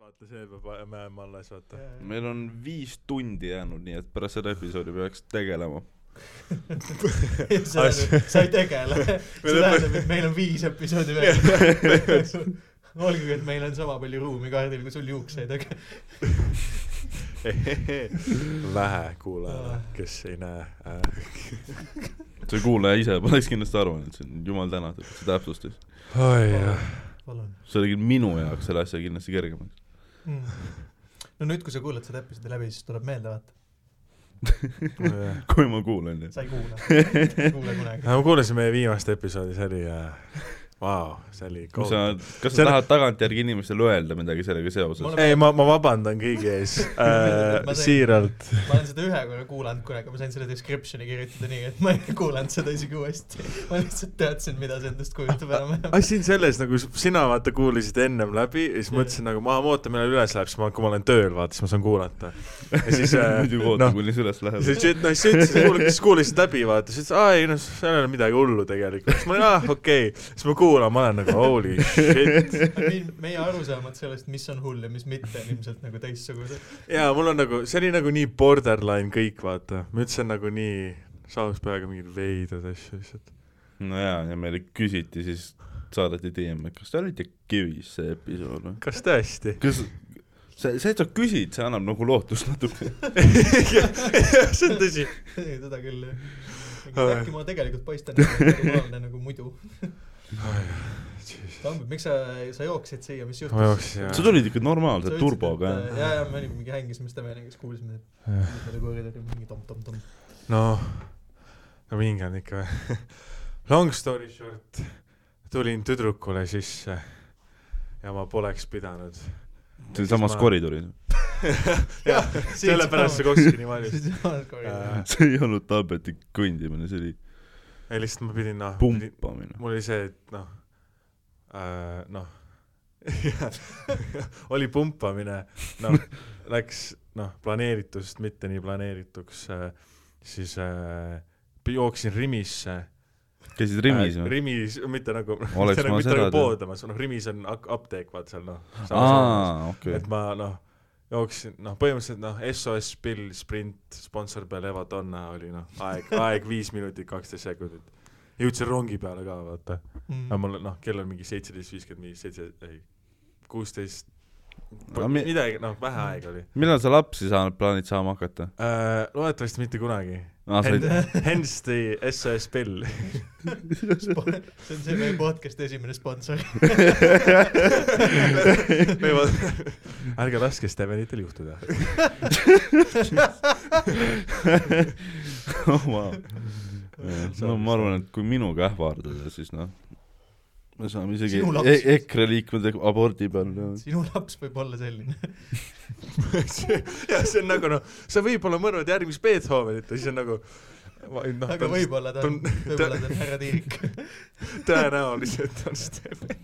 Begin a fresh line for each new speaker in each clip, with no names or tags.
vaata , see peab ajama jääma alles , vaata .
meil on viis tundi jäänud , nii et pärast seda episoodi peaks tegelema .
sa sa ei tegele . see tähendab , et meil on viis episoodi veel . olgugi , et meil on sama palju ruumi kaardil , kui sul juukseid , aga
vähe
Ah.
kuulajale , kes ei näe äh. .
see kuulaja ise poleks kindlasti aru andnud , see on jumal tänatud , see täpsustus .
oi
palun
see tegi minu jaoks selle asja kindlasti kergemaks .
mm. . no nüüd , kui sa kuulad seda episoodi läbi , siis tuleb meelde , vaata .
Ah, jah .
kui ma kuulen ,
sa ei kuula . ei kuule kunagi .
ma kuulasin meie viimast episoodi , see oli äh, , vau , see oli
kas sa
kohutav .,
kas
See
sa
on-
tahad tagantjärgi inimestele öelda midagi sellega seoses
Ma ?
ei , ma , ma vabandan kõigi ees
Ma
äh, ,
sain-
siiralt .
ma olen seda ühe korra kuulanud kunagi , ma sain selle description'i kirjutada nii , et ma ei kuulanud seda isegi uuesti . ma lihtsalt teadsin , mida see endast kujutab enam-vähem .
asi on selles , nagu s- sina vaata kuulasid ennem läbi ja siis mõtlesin nagu , ma ootan , millal üles läheb , siis ma , kui ma olen tööl , vaata , siis ma saan kuulata . ja siis
muidugi
äh,
oota ,
noh ,
kuni see üles
siis
läheb .
ütles , noh , siis ütles , et kuule , kas kuulasid läbi , vaata , siis ütles , aa ei noh , seal ei ole midagi hullu tegelikult , siis ma olin , aa okei okay. , siis ma kuulan , ma olen nagu holy shit .
meie arusaamad sellest , mis on hull ja mis mitte , on ilmselt nagu teistsugused .
jaa , mul on nagu , see oli nagu nii borderline kõik , vaata , ma ütlesin nagu nii saus peaga mingeid veidraid asju lihtsalt .
no jaa , ja meile küsiti siis , saadeti DM , et kas te olite kivis see episood või ?
kas tõesti ?
kas see , see , et sa küsid , see annab nagu lootust natuke .
see on tõsi .
seda küll , jah .
Oi.
äkki ma tegelikult paistan nagu normaalne nagu muidu . Tambet , miks sa , sa jooksid siia , mis
ma
juhtus ?
jooksin
sa
jah .
tulid ikka normaalse turboga ,
äh,
jah ?
äh, jaa , jaa , me olime mingi hängisime seda meelega , siis kuulsime , et mis meil koerid olid mingi tom-tom-tom .
noh , no minge on ikka või . Long story short , tulin tüdrukule sisse ja ma poleks pidanud .
siinsamas
ma-
koridoris .
jah , sellepärast see kokski nii valis .
koris .
see ei olnud tabletti kõndimine , see oli
äh, ei lihtsalt ma pidin noh ,
pumpamine .
mul oli see , et noh äh, , noh oli pumpamine , noh läks noh , planeeritust mitte nii planeerituks äh, , siis äh, pi- jooksin Rimisse .
käisid Rimis või ?
Rimis , mitte nagu ,
Oleks
mitte
ma
nagu, mitte
seda
nagu
teadnud.
poodlemas , noh Rimis on ak- apteek , vaata seal noh .
aa , okei
et . ma noh , jooksin , noh , põhimõtteliselt noh , SOS Bill sprint sponsor peal Eva Donna oli noh , aeg , aeg viis minutit kaksteist sekundit . jõudsin rongi peale ka vaata ,
Mm.
aga mul on noh , kell on mingi seitseteist viiskümmend viis , seitse , ei , kuusteist ,
Aga mi-
midagi , noh , vähe aega oli
millal sa lapsi saanud , plaanid saama hakata ?
uh, . loodetavasti mitte kunagi .
aa , sa olid ,
Hence the SOS Bill .
see on see meie podcast'i esimene sponsor .
ärge laske Stevenitel juhtuda .
oh vau . no ma arvan , et kui minuga ähvardada , siis noh , me saame isegi
Sinu laps
e
siis.
EKRE liikmed abordi peal .
sinu laps võib olla selline .
Noh, ja see on nagu noh , sa võib-olla mõrvad järgmist Beethovenit ja siis on nagu ma- noh , ta
aga
on
võib-olla ta on , võib-olla ta on härra Tiirik .
tõenäoliselt on Steven .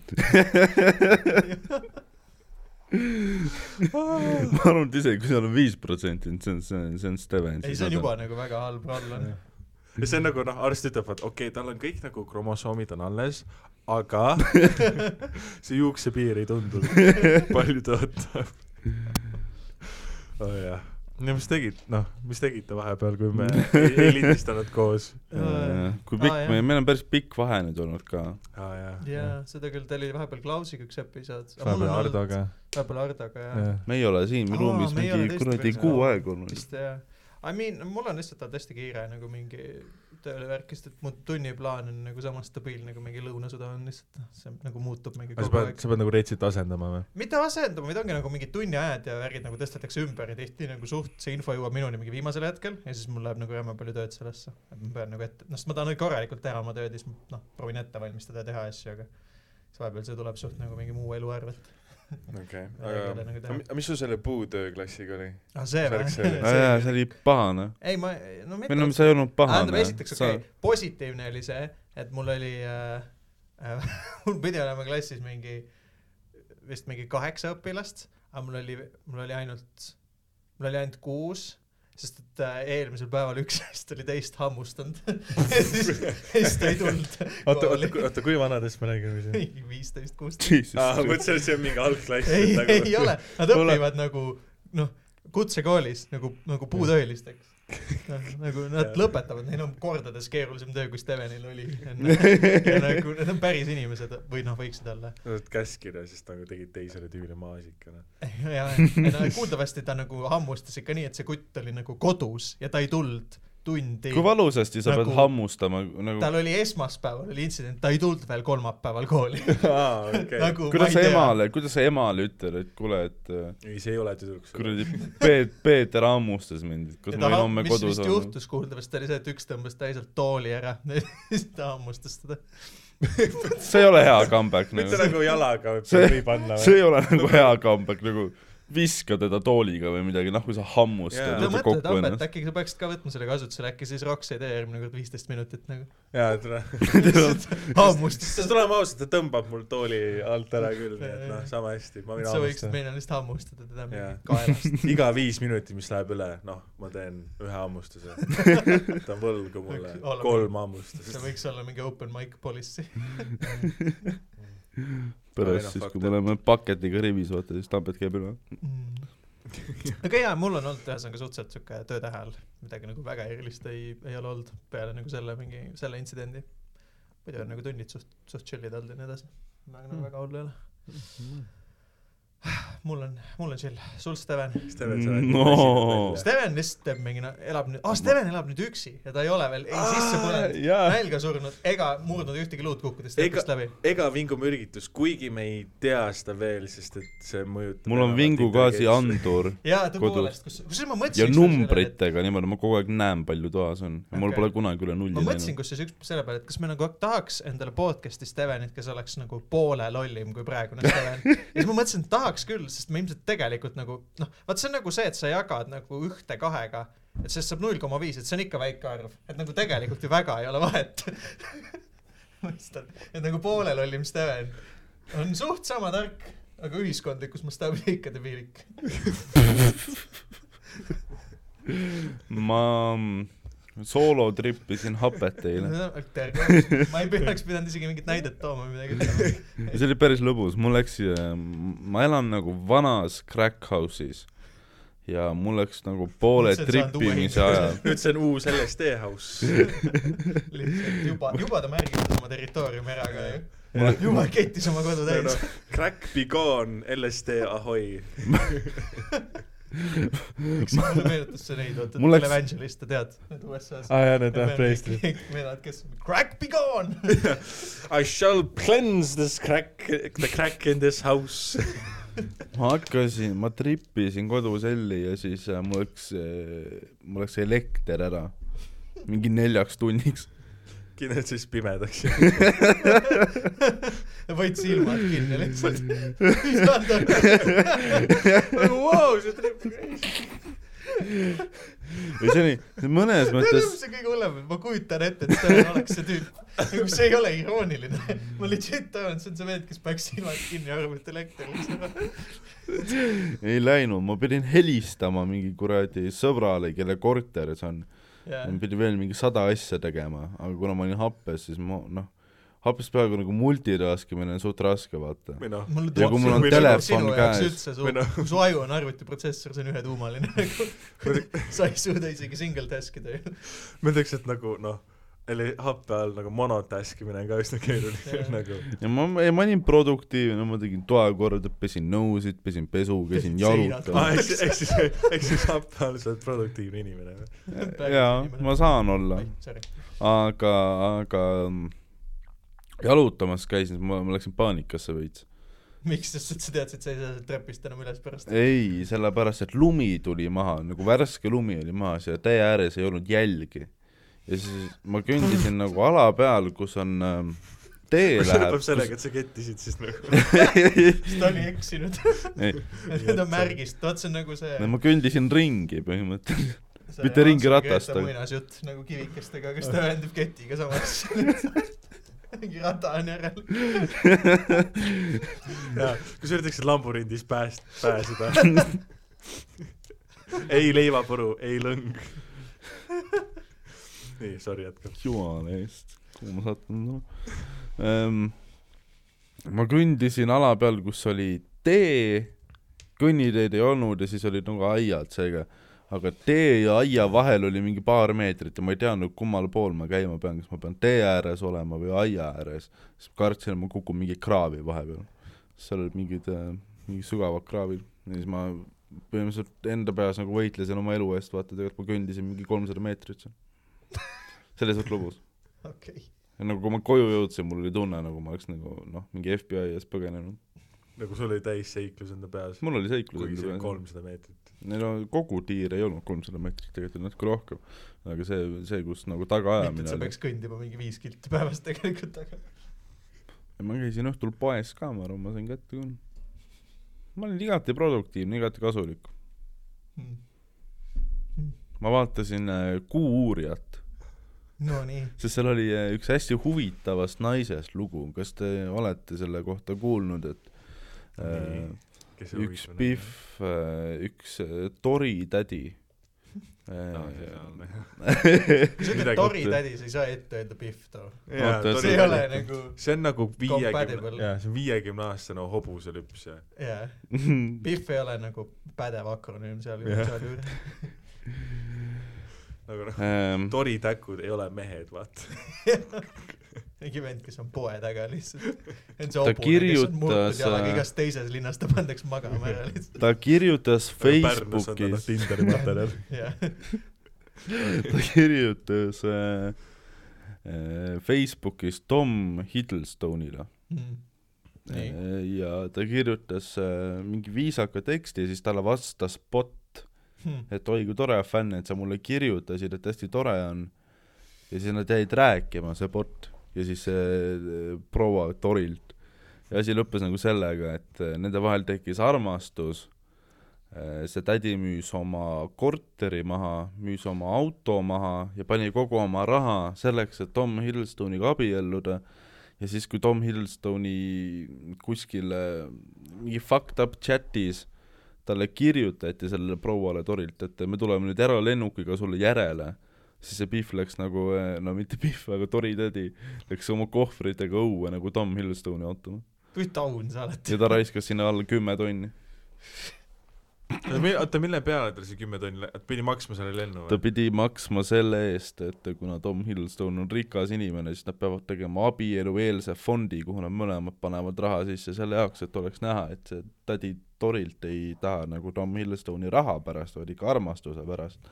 ma arvan , et isegi kui seal on viis protsenti , see on , see on , see on Steven .
ei , see on juba . nagu väga halb roll on .
ja see on nagu noh , arst ütleb , et okei okay, , tal on kõik nagu kromosoomid on alles , aga see juuksepiir ei tundu palju tõotav . oo jah , no mis tegid , noh , mis tegite vahepeal , kui me ei, ei lindistanud koos ?
kui pikk
Aa, jah.
me , meil on päris pikk vahe nüüd olnud ka .
aa jaa .
jaa , seda küll , tal oli vahepeal Klausiga üks episood .
Ah, vahepeal Hardoga .
vahepeal Hardoga , jaa .
me ei ole siin
Aa,
ruumis
me ei ole
mingi
teist
kuradi
päris-
kuu aega olnud .
vist jah . I mean , mul on lihtsalt olnud hästi kiire nagu mingi tööle värk , sest et mu tunniplaan on nagu sama stabiilne kui mingi lõunasõda on lihtsalt , see nagu muutub mingi
sa
kogu
pead ,
aeg
sa . pead nagu reitsit asendama või ?
mitte asendama , vaid ongi nagu mingid tunniajad ja värgid nagu tõstetakse ümber ja tihti nagu suht see info jõuab minuni mingi viimasel hetkel ja siis mul läheb nagu jäme palju tööd sellesse . et ma pean nagu ette , noh , sest ma tahan nagu korralikult teha oma tööd ja siis ma, noh , proovin ette valmistada ja teha asju , aga siis vahepeal see tuleb suht nagu mingi muu elu arvelt .
okei
Ma ei ole nagu teha.
mis sul selle puutööklassiga oli ?
aa , see
See oleks see-
aa jaa , see
või ?
oli pahane .
ei , ma , no mitte
või no sa ei olnud
tähendab ,
pahane .
esiteks okei okay, , positiivne oli see , et mul oli äh, , äh, mul pidi olema klassis mingi , vist mingi kaheksa õpilast , aga mul oli , mul oli ainult , mul oli ainult kuus sest et äh, eelmisel päeval üks neist oli teist hammustanud ja siis siis ta ei tulnud
oota , oota , oota , kui vanadest me räägime siin ?
mingi viisteist , kuusteist
aa ,
Jesus .
Ah, mõtlesin , et nagu- see on mingi algklass .
ei , ei ole , nad
nagu- Kuule-
õpivad nagu noh , kutsekoolis nagu , nagu puutöölisteks . noh , nagu nad
Jah.
lõpetavad , neil on kordades keerulisem töö , kui Stevenil oli enne . ja nagu nad on päris inimesed või noh , võiksid olla .
Nad käskkirja siis nagu tegid teisele tüüle maasikana .
ja , ja no kuuldavasti ta nagu hammustas ikka nii , et see kutt oli nagu kodus ja ta ei tulnud tundi .
kui valusasti sa pead
Nagu-
hammustama , nagu
tal oli esmaspäeval oli intsident , ta ei tulnud veel kolmapäeval kooli .
aa , okei .
nagu
kuidas sa
ma ei tea ,
emale , kuidas sa emale ütled , et kuule , et äh,
ei , see ei ole tüdruk .
kuradi Peet- , Peeter hammustas mind , et kas ma võin homme
mis
kodus
vist
olla .
juhtus kuuldavasti oli see , et üks tõmbas täiselt tooli ära ja siis ta hammustas teda .
see ei ole hea comeback
mitte
nagu ,
nagu jalaga
See-
võib panna
see . ei ole nagu hea comeback nagu viska teda tooliga või midagi , noh kui sa hammustad
Jaa.
no
yeah. teda
mõtle ,
kokku
Tambet ,
ennast .
äkki sa peaksid ka võtma selle kasutusele , äkki siis Roks ei tee järgmine kord viisteist minutit nagu
jaa , tere .
hammustust .
sest oleme ausad , ta tõmbab mul tooli alt ära küll , nii et noh , sama hästi , ma võin
sa võiksid
hammustada .
meile lihtsalt hammustada teda
Jaa.
mingi kaelast .
iga viis minutit , mis läheb üle , noh , ma teen ühe hammustuse . ta on võlgu mulle
Oleme-
kolm
see
hammustust .
võiks olla mingi open mic policy .
pärast siis , kui me oleme paketiga rivis , vaata siis Tambet käib üle .
Mm. aga jaa , mul on olnud ühesõnaga suhteliselt siuke töötähe all , midagi nagu väga erilist ei , ei ole olnud peale nagu selle mingi , selle intsidendi . muidu on nagu tunnid suht , suht chill'id olnud ja nii edasi . aga nagu väga hullu ei ole . mul on , mul on chill , sul Steven .
No.
Steven lihtsalt teeb mingi , elab nüüd , aa Steven elab nüüd üksi ja ta ei ole veel ei sisse põlenud ,
jaa ,
nälga surnud ega murdnud ühtegi luud kukkudes
Ega-
tekst läbi .
ega Vingu mürgitus , kuigi me ei tea seda veel , sest et see mõjutab
mul on vingugaasi andur
jaa ,
Kodus.
tõepoolest , kus , kusjuures ma mõtlesin .
ja numbritega niimoodi , ma kogu aeg näen , palju toas on ja mul
Okei.
pole kunagi üle nulli
ma mõtlesin ,
läinud .
kus siis üks selle peale , et kas me nagu tahaks endale podcast'i Stevenit , kes oleks nagu poole lollim kui praegune Steven . ja siis ma mõtlesin , et tahaks küll , sest me ilmselt tegelikult nagu noh , vaat see on nagu see , et sa jagad nagu ühte kahega , et sellest saab null koma viis , et see on ikka väike arv , et nagu tegelikult ju väga ei ole vahet . mõistad , et nagu poole lollim Steven on suht sama tark , aga ühiskondlikus mastaabis ikka debiilik .
ma mm, soolotrippisin hapet eile
terve , ma ei peaks pidanud isegi mingit näidet tooma või midagi ütlema .
ja see oli päris lõbus , mul läks , ma elan nagu vanas crack house'is ja mul läks nagu poole
Mõtlesin, et sa oled
tripimise
uue
ajal ,
nüüd see on uus LSD house .
lihtsalt juba , juba ta märgib seda oma territooriumi ära ka ju .
Mul-
juba kettis oma kodu
Noh,
täis .
Crack be gone , LSD ahoi .
miks mulle meenutas see neid , oota ,
Mul läks- Ah,
Televangelist , tead , need USA-s .
aa Ah, jaa , need läheb Eestile .
meenuvad , kes , crack be gone .
I shall cleanse this crack , the crack in this house .
ma hakkasin , ma tripisin kodus Elli ja siis äh, mul läks , mul läks elekter ära mingi neljaks tunniks .
kindlalt siis pimedaks .
võid silmad kinni lihtsalt . mis nad on ? Nagu,
Vau , see trip .
ja see oli mõnes
tead ,
mõttes
mis see kõige hullem on , ma kujutan ette , et Steven oleks see tüüp , nagu see ei ole irooniline , ma legit arvan , et see on see vend , kes paneks silmad kinni ja arvab , et elekter läks ära .
ei läinud , ma pidin helistama mingi kuradi sõbrale , kelle korter see on . ma
jaa ,
pidin veel mingi sada asja tegema , aga kuna ma olin happes , siis ma noh , happes peaaegu nagu multitaskimine on suht raske , vaata .
või noh ,
mulle
ja kui mul on
Või
sinu-
telefon
nagu sinu jaoks
käes-
üldse
või
su ,
noh-
su aju on arvutiprotsessor , see on ühetuumaline nagu . sa ei suuda isegi single task ida ju .
ma ütleks , et nagu noh , happe all nagu monotask imine on ka üsna keeruline nagu .
ja ma , ma olin produktiivne , ma tegin toa korda , pesin nõusid , pesin pesu , käisin
Pesid
aa ,
jalutamas .
seinad.
Ah, eks , eks siis , eks siis happe all sa oled produktiivne inimene .
jaa , ma saan olla ,
Sorry ,
aga , aga mm, jalutamas käisin , ma , ma läksin paanikasse veits .
miks , sest et sa teadsid , sa ei saa sealt trepist enam üles pärast .
ei , sellepärast , et lumi tuli maha , nagu värske lumi oli maas ja tee ääres ei olnud jälgi . ja siis ma kõndisin nagu ala peal , kus on ähm, tee
see
läheb
lõpeb . sellega , et sa kettisid siis nagu .
sest ta oli eksinud ,
ei ,
nüüd on märgist , vot see on nagu see .
ma kõndisin ringi põhimõtteliselt .
See
Mitte ringiratast,
on .
aga-
muinasjutt nagu kivikestega , kes ta ühendab ketiga samas . mingi rada on järel .
kui sa üritaksid lamburindis pääst- , pääseda . ei leivapuru , ei lõng . nii , sorry , jätka .
jumala eest , kuhu ma sattunud olen ähm, . ma kõndisin ala peal , kus oli tee , kõnniteed ei olnud ja siis olid nagu aiad seega , aga tee ja aia vahel oli mingi paar meetrit ja ma ei teadnud , kummal pool ma käima pean , kas ma pean tee ääres olema või aia ääres , siis kartsin , et ma kukun mingi kraavi vahepeal . seal olid mingid , mingid sügavad kraavid ja siis ma põhimõtteliselt enda peas nagu võitlesin oma elu eest , vaata tegelikult ma kõndisin mingi kolmsada meetrit seal . selles suhtes lõbus .
okei .
ja nagu kui ma koju jõudsin , mul oli tunne , nagu ma oleks nagu noh , mingi FBI ees põgenenud .
nagu sul oli täis seiklus enda peas ,
mul oli
kuigi
seiklus
see oli . kolmsada meetrit .
ei no kogu tiir ei olnud kolmsada meetrit , tegelikult oli natuke rohkem . aga see , see , kus nagu
mitte , et
tagaajamine
sa
oli .
peaks kõndima mingi viis kilti päevas tegelikult , aga
ma käisin õhtul poes ka , ma arvan , ma sain kätte küll . ma olin igati produktiivne , igati kasulik .
mm. .
ma vaatasin äh, Kuu-uurijat ,
Nonii ,
sest seal oli äh, üks hästi huvitavast naisest lugu . kas te olete selle kohta kuulnud , et äh,
Nii. kes see
üks . Pihv , üks äh, Tori tädi . Äh,
Ah,
kui sa ütled
Midagi
Tori
mõtle-
tädi , sa ei saa ette öelda Pihv too .
Oota,
see ei ole nagu ,
see on nagu viiekümne
Compatible. ,
jaa , see on viiekümne aastane hobuselüps ja
jaa , Pihv ei ole nagu pädev akronüüm seal
Jah.
sealjuures .
nagu noh ,
Ähm,
toritäkud ei ole mehed , vaata .
mingi vend , kes on poe taga lihtsalt .
Ta kirjutas, äh,
igas teises linnas ta pandaks magama ära lihtsalt ,
ta kirjutas
Nagu
Facebookis ,
Tinderi materjal .
jah .
ta kirjutas äh, äh, Facebookis Tom Hiddlestone'ile
Mm. nii ,
Äh, ja ta kirjutas äh, mingi viisaka teksti ja siis talle vastas bot ,
Hmm.
Mm. et oi kui tore fänn , et sa mulle kirjutasid , et hästi tore on . ja siis nad jäid rääkima , see bot ja siis see äh, proua Torilt . ja asi lõppes nagu sellega , et äh, nende vahel tekkis armastus . see tädi müüs oma korteri maha , müüs oma auto maha ja pani kogu oma raha selleks , et Tom Hiddlestoniga abielluda ja siis , kui Tom Hiddlestoni kuskil äh, mingi fucked up chatis talle kirjutati sellele prouale Torilt , et me tuleme nüüd eralennukiga sulle järele , siis see Pihv läks nagu , no mitte Pihv , aga Tori tädi läks oma kohvritega õue nagu Tom Hiddlestoni ootama
kui taun sa oled
ja . ta raiskas sinna alla kümme tonni .
oota , mille peale tal see kümme tonni , et pidi maksma selle lennu
ta
või ?
pidi maksma selle eest , et kuna Tom Hiddleston on rikas inimene , siis nad peavad tegema abielueelse fondi , kuhu nad mõlemad panevad raha sisse selle jaoks , et oleks näha , et see tädi Torilt ei taha nagu Tom Hiddlestoni raha pärast , vaid ikka armastuse pärast .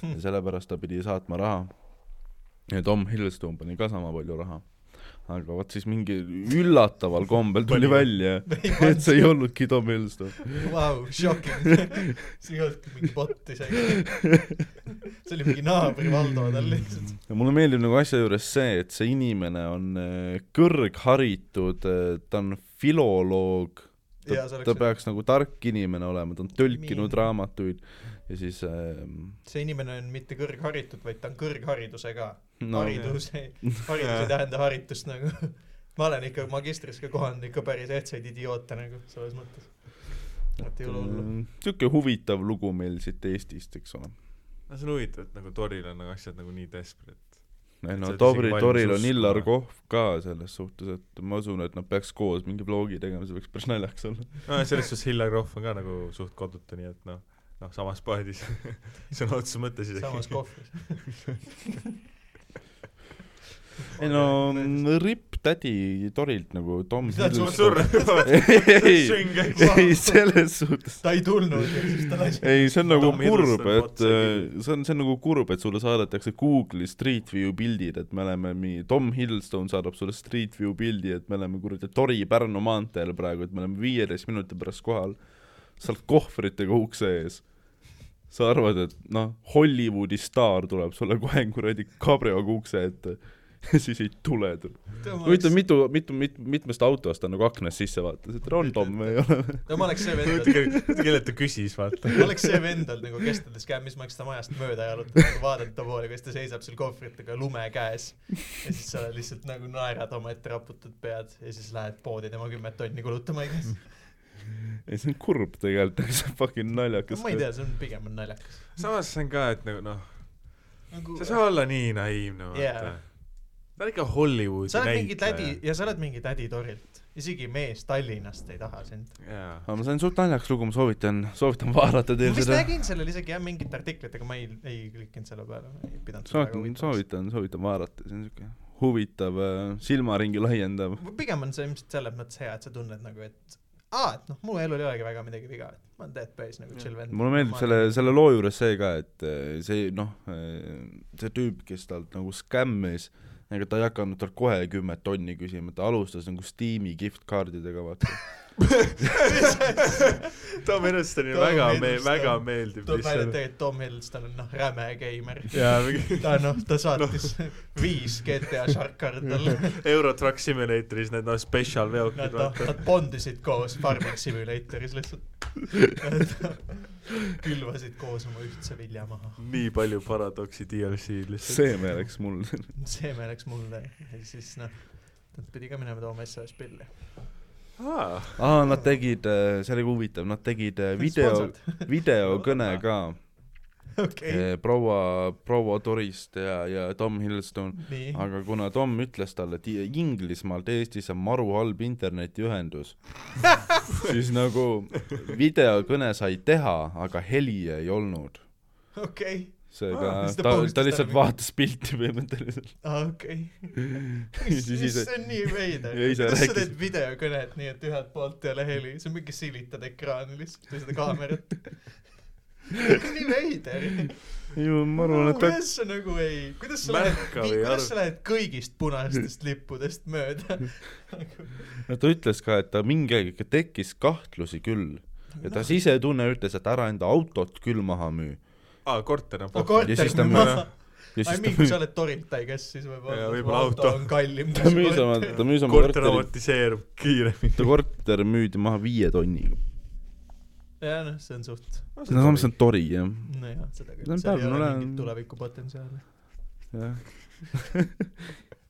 Hmm.
ja sellepärast ta pidi saatma raha . ja Tom Hiddleston pani ka sama palju raha . aga vot siis mingi üllataval kombel tuli
Pani.
välja , et see ei olnudki Tom Hiddleston .
Vau , shocking . see ei olnudki mingi bot isegi . see oli mingi naabri Valdo tal lihtsalt .
ja mulle meeldib nagu asja juures see , et see inimene on äh, kõrgharitud , ta on filoloog , ta,
ja see
ta
oleks ,
peaks nagu tark inimene olema , ta on tõlkinud
Mean.
raamatuid ja siis ähm,
see inimene on mitte kõrgharitud , vaid ta on kõrgharidusega .
no
haridus ei , haridus ei tähenda haritust nagu . ma olen ikka magistris ka kohanud ikka päris ehtsaid idioote nagu selles mõttes . et ei ole hullu .
niisugune äh, huvitav lugu meil siit Eestist , eks ole .
no see on huvitav , et nagu Toril on nagu asjad nagu nii desperate .
ei
sa
no
oled
Tabri
isegi valmis
toril on
uskuma.
Illar Kohv ka selles suhtes , et ma usun , et nad peaks koos mingi vlogi tegema , see võiks päris naljakas olla .
no ja selles suhtes Hillar Rohv on ka nagu suht kodutu , nii et noh , noh samas paadis sõna otseses mõttes
samas
isegi .
kohvis .
ei no ripp tädi Torilt nagu Tom
Mis nad sul-
Hiddleston- ei , ei
ei ,
selles suhtes .
ta ei tulnud ja siis ta lasi .
ei , see on nagu
Tom
kurb ,
Hiddleston
et
otse
äh, see on , see on nagu kurb , et sulle saadetakse Google'i Street View pildid , et me oleme nii , Tom Hiddleston saadab sulle Street View pildi , et me oleme kuradi Tori-Pärnu maanteel praegu , et me oleme viieteist minuti pärast kohal . sa oled kohvritega ukse ees . sa arvad , et noh , Hollywoodi staar tuleb sulle kohe kuradi kabrioga ukse ette ja siis ei tule . huvitav ,. mitu , mitu , mit- , mitmest autost ta nagu aknast sisse vaatas , et on Tom või ei ole või ?
no ma oleks see vend ,
kellelt ta küsis , vaata .
ma oleks see vend olnud nagu kestades kämmis , ma oleks ta majast mööda jalutanud nagu , vaadanud ta poole , kuidas ta seisab seal kohvritega lume käes . ja siis sa lihtsalt nagu naerad omaette , raputad pead ja siis lähed poodi tema kümmet tonni kulutama igas .
ei , see on kurb tegelikult , aga see on fucking naljakas .
ma ei tea , see on pigem on naljakas .
samas see on ka , et nagu noh ,
nagu
sa ei saa olla nii naiivne , vaata
Jaa.
yeah. . ta on ikka Hollywoodi
sa oled mingi tädi . ja sa oled mingi tädi Torilt , isegi mees Tallinnast ei taha sind .
jaa .
aga see on suht naljakas lugu , ma soovitan , soovitan vaadata
ma
teil
vist
seda .
nägin sellel isegi jah mingit artiklit , aga ma ei , ei klikkinud selle peale , ei pidanud seda väga
soovitan ,
huvitavaks .
soovitan , soovitan vaadata , see on siuke huvitav äh, , silmaringi laiendav .
pigem on see ilmselt selles mõttes hea , et sa tunned nagu , et aa , et noh , mu elul ei olegi väga midagi viga , et ma olen dead base nagu chill vend .
mulle meeldib selle , selle loo juures see ka , et äh, see noh , see tüüp , kes talt nagu skämmis , ega ta ei hakanud talt kohe kümmet tonni küsima , ta alustas nagu Steam'i gift kaardidega , vaata .
Tom Hiddlestonile
Tom
väga me- ,
Hiddleston.
väga meeldib
tuleb välja , et
lihtsalt .
tegelikult Tom Hiddleston on noh , räme geimer .
jaa , mingi
ta noh , ta saatis viis GTA Sharkar talle .
Euro Truck Simulatoris need noh , spetsial veokid
Nad noh ,
vaata .
nad bondisid koos Farming Simulatoris lihtsalt . külvasid koos oma ühtse vilja maha .
nii palju paradoksi DLC-d lihtsalt .
see meeleks mul .
seeme läks mulle ja siis noh , ta pidi ka minema tooma SOS pilli .
aa ,
aa , nad tegid , see oli huvitav , nad tegid äh, video , videokõne ka
okei ,
eh, proua , proua Torist ja , ja Tom Hiddleston .
nii .
aga kuna Tom ütles talle , et I- Inglismaalt Eestis on maru halb internetiühendus , siis nagu videokõne sai teha , aga heli ei olnud .
okei ,
seega
Aa, siis Ah, ta
ta , ta
postis
lihtsalt
talle mingi-
vaatas pilti põhimõtteliselt .
okei .
Ja siis ise-
see on nii veider .
ja ise
kuidas sa
rääkis-
teed videokõnet nii , et ühelt poolt ei ole heli , see on mingi silitad ekraani lihtsalt või seda kaamerat . nii veider .
ju ma arvan , et ta
kuidas sa nagu ei , kuidas sa lähed ,
Märkav ei
kuidas
arv-
sa lähed kõigist punastest lippudest mööda ? Nagu-
no ta ütles ka , et ta mingi aeg ikka tekkis kahtlusi küll
Noh,
ja ta sisetunne ütles , et ära enda autot küll maha müü .
aa , korter on
no
pohvel .
Ja siis
korteri
ta
müüb
müüb-
maha .
ja
I
siis
mean , kui sa
ta ,
oled Torilt , I guess , siis võib-olla
Jaa,
su
võib-olla auto.
on kallim .
ta müüs oma , ta müüs oma
korter
korteri ,
amortiseerub kiiremini .
ta korter müüdi maha viie tonniga .
jah , noh , see on suht ,
no samas see on tori jah ,
nojah , seda
See on
küll , seal ei ole
Pärnule-
mingit tulevikupotentsiaali .
jah .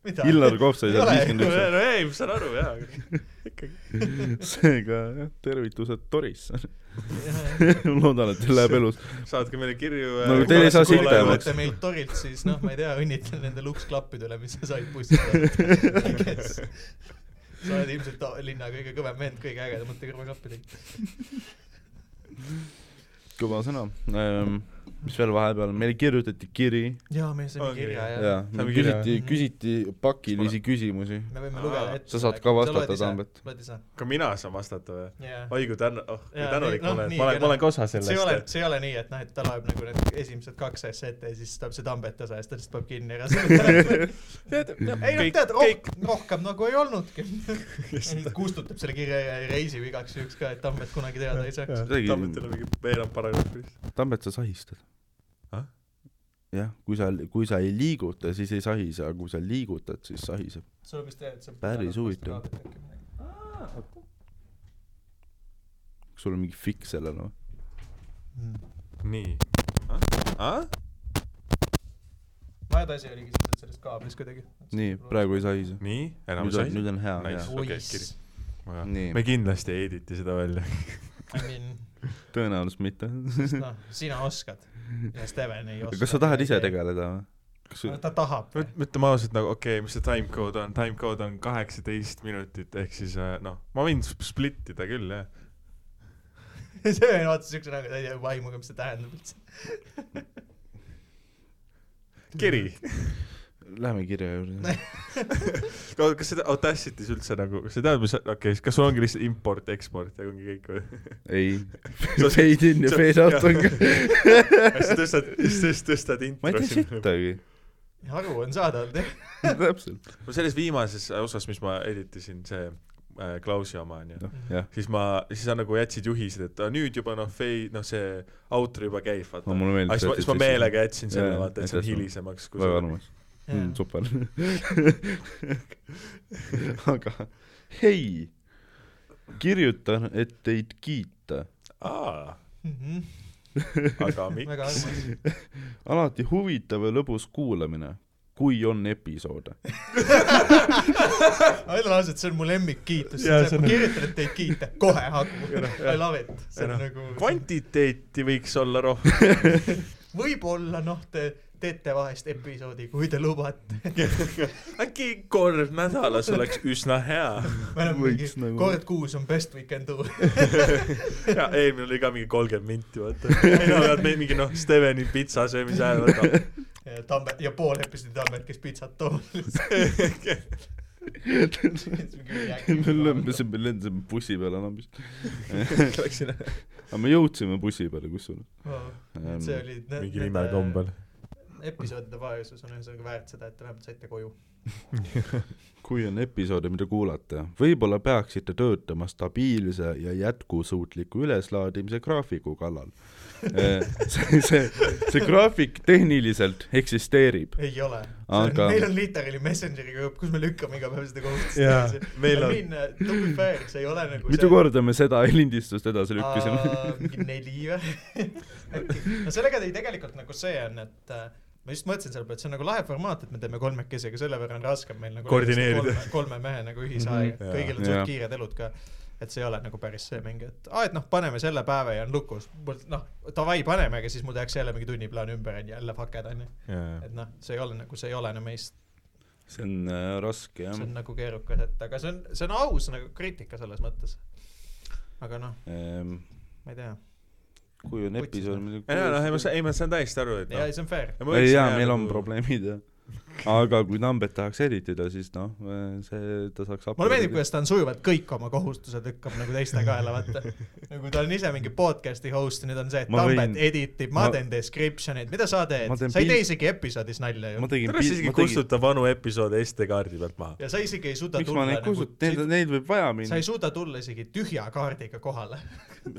mida ?
Illar Kohv sai
Ei
seal
ole.
viiskümmend
no
üks
ei, no ei , ma saan aru jaa , aga
seega jah , tervitused Torisse . loodan , et teil läheb elus .
saatke meile kirju . äh,
No aga teil ei saa
kui te
silta jääma,
tulete meilt Torilt , siis noh , ma ei tea , õnnitlen nende luksklappide üle , mis sa said bussi pealt . sa oled ilmselt ta- linna kõige kõvem vend kõige ägedamate kõrvaklappidega .
kõva sõna ähm, . mis veel vahepeal , meile kirjutati kiri
jaa , meil sai
Ongi,
kirja ja
ja
Saame
meil
kirja.
küsiti , küsiti pakilisi küsimusi .
me võime lugeda ette .
sa saad ka vastata , Tambet .
loed ise ?
ka mina saan vastata või ?
jaa .
oi kui tänu , oh kui
Jaa,
tänulik
nii-
ma
noh,
olen ,
nii,
ma olen , ma olen
kena.
ka osa
see ei ole ,
sellest .
see ei ole nii , et noh , et ta loeb nagu need esimesed kaks asja ette ja siis tuleb see Tambet osa ja siis ta lihtsalt paneb kinni ära selle . ei noh , tead ,
oh!
rohkem , rohkem nagu ei olnudki . kustutab selle kirja ja reisib igaks juhuks ka , et Tambet kunagi teada ei saaks .
Tegi-
Tammetele mingi veerand paragrahvi .
Tambet , sa sahistad
Ah? .
jah , kui sa , kui sa ei liiguta , siis ei sahise , aga kui sa liigutad , siis sahiseb .
sul vist jah , et sa .
Päris huvitav. . kas sul on mingi fiks sellel või ?
nii .
vajad asi oligi lihtsalt selles kaablis kuidagi .
nii , praegu ei sahise .
nii , enam
nüüd
sai
on ,. nüüd on hea ,
Nice.
hea .
okei,
oiss ,
nii.
me kindlasti ei editi seda välja .
I mean ,
tõenäoliselt mitte .
noh , sina oskad ja Steven ei oska .
kas sa tahad ise ? tegeleda või ? kas sa ,
ta tahab .
ütleme ausalt nagu okei okay, , mis see time code on , time code on kaheksateist minutit , ehk siis äh, noh , ma võin sp- split ida küll jah .
Steven vaatas siukse näoga , ta ei tea vaimugi , mis see tähendab üldse .
kiri ,
lähme kirja juurde .
kas seda Audacity's üldse nagu , kas sa tead , mis , okei okay, , kas sul ongi lihtsalt import-eksport ja ongi kõik või ?
ei
Sa- .
Fade in ja
sa-
fade out on ka .
siis tõstad , siis tõstad
ma
intro
ei tea . sittagi .
aru on saada olnud jah .
täpselt .
no selles viimases äh, osas , mis ma editisin , see äh, Klausi oma onju ,
noh , jah .
siis ma , siis sa nagu jätsid juhised , et ah, nüüd juba noh , fei- , noh see outro juba käib , vaata
No, mulle meeldib
aga siis ma ,
see,
siis ma
et-
meelega jätsin selle
Jaa, ,
vaata , et see on
aitäh sulle.
hilisemaks .
väga armas . Mm,
Mm,
super . aga hei , kirjutan , et teid kiita .
aa ,
armas .
aga
Mhm. väga
miks ?
armas .
alati huvitav ja lõbus kuulamine . kui on episoode .
Aido lauses , et see on mu lemmikkiitus ,
Jaa,
see
see on-
on , ma kirjutan , et teid kiita , kohe hakkab
Jah, ,
I
jah.
love it , see on
Jah.
nagu ,
kvantiteeti võiks olla rohkem .
võib-olla noh , te teete vahest episoodi , kui te lubate .
äkki kord nädalas oleks üsna hea .
me oleme mingi
Võiks , nagu-
kord kuus on best we can do .
ja eelmine oli ka mingi kolmkümmend minti , vaata . ei no , me mingi noh , Steveni pitsa söömise ajal võtame .
Tambet ja pool episoodi Tambet , kes pitsat toob .
me lõmbasime , lendasime bussi peale enam vist .
Läksin
aga me jõudsime bussi peale , kusjuures .
see oli .
mingi ime . kombel .
episoodide vaesus on ühesõnaga väärt seda , et te vähemalt saite koju .
kui on episoode , mida kuulata , võib-olla peaksite töötama stabiilse ja jätkusuutliku üleslaadimise graafiku kallal . see , see , see graafik tehniliselt eksisteerib .
ei ole .
Aga-
meil on literaali Messengeriga grupp , kus me lükkame iga päev seda
Jaa,
kohustust .
meil on-
minna , uh, to be fair , see ei ole nagu .
mitu korda me seda lindistust edasi lükkasime ?
mingi neli või äkki , no sellega ei tegelikult nagu see on , et äh, ma just mõtlesin selle peale , et see on nagu lahe formaat , et me teeme kolmekesi , aga selle võrra on raskem meil nagu
Koordineerida.
kolme, kolme mehe nagu ühisaeg ,
Mhm.
kõigil on
Jaa.
suht kiired elud ka et see ei ole nagu päris see mingi , et aa , et noh , paneme selle päeva ja on lukus . mul noh , davai , paneme , aga siis mul tehakse jälle mingi tunniplaan ümber onju , jälle faked onju . et noh , see ei ole nagu , see ei ole enam meist ,
see on äh, raske jah
see on . nagu keerukas , et aga see on , see on aus nagu kriitika selles mõttes . aga noh , ma ei tea .
kui on
Võtsid
episood ,
või?
mida
ei no , ei ma saan , ei ma saan täiesti aru , et
ja
noh
ei ,. see on fair .
ei jaa , meil on . probleemid jah . aga kui Tambet tahaks editida , siis noh , see , ta saaks
mulle meeldib , kuidas ta on sujuvalt kõik oma kohustused lükkab nagu teiste kaela , vaata . nagu ta on ise mingi podcast'i host ja nüüd on see , et
Ma
Tambet
võin-
võin... editib , ma
ma-
teen description'id , mida sa teed
Ma ? teen
sa ei tee
pilt-
isegi episoodis nalja ju
ma . tegin
tuleks isegi
ma tegin ,
kustuta vanu episoode SD-kaardi pealt maha .
ja sa isegi ei suuda
miks ma
tulla
neid
nagu ,
kustut- , neid , neid võib vaja
sa
minna
ei . suuda tulla isegi tühja kaardiga kohale .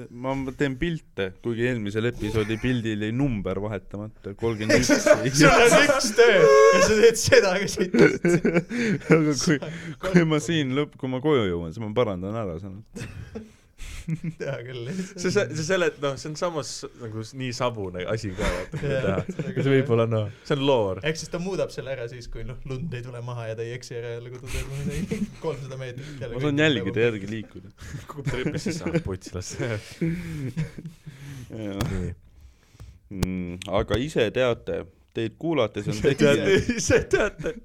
ma ma teen pilte , kuigi eelmisel episoodi pildil jäi number vahetamata , kolmkümmend üks .
sul on üks töö ja sa teed seda , aga sa ei tee .
aga kui , kui ma siin lõpp , kui ma koju jõuan , siis ma parandan ära selle .
hea küll .
see , see , see selle , noh , see on samas nagu s- nii sabune asi ka , vaata , mida
Jaa,
teha .
sellega
see võib-olla noh , see on loor .
ehk siis ta muudab selle ära siis , kui noh , lund ei tule maha ja ta ei eksi ära jälle , kui ta teeb midagi kolmsada meetrit . nagu-
ma saan jälgida järgi liikuda .
kukub trepist sisse , ah putsilasse . nii .
Mm, aga ise teate , teid kuulates on
ise teate , ise teate .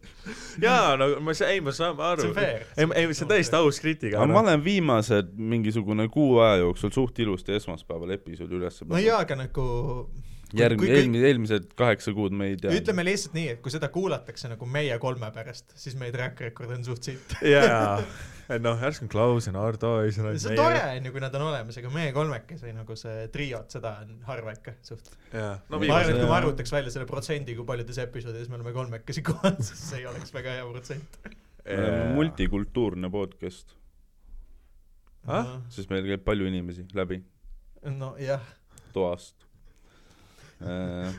jaa , no ma , ei , ma saan
see
aru
on . fair .
ei , ei , see on täiesti aus kriitika . noh.
aga ma olen viimased mingisugune kuu aja jooksul suht ilusti esmaspäeval episoodi üles
no jaa , aga nagu kui
järgmine ,
kõik-
eelmine , eelmised kaheksa kuud me ei tea .
ütleme lihtsalt nii , et kui seda kuulatakse nagu meie kolme pärast , siis meie track record on suht siit .
jaa , et noh , järsku on Klaus ja Nardo ja siis on
see on tore . on ju , kui nad on olemas , aga meie kolmekesi nagu see triod , seda on harva ikka suht .
jaa , no
ma arvan , et
viimased
kui
jah.
me arvutaks välja selle protsendi , kui paljudes episoodides me oleme kolmekesi kohal , siis see ei oleks väga hea protsent .
multikultuurne podcast ,
Ah?
sest meil käib palju inimesi läbi
nojah ,
toast . Äh,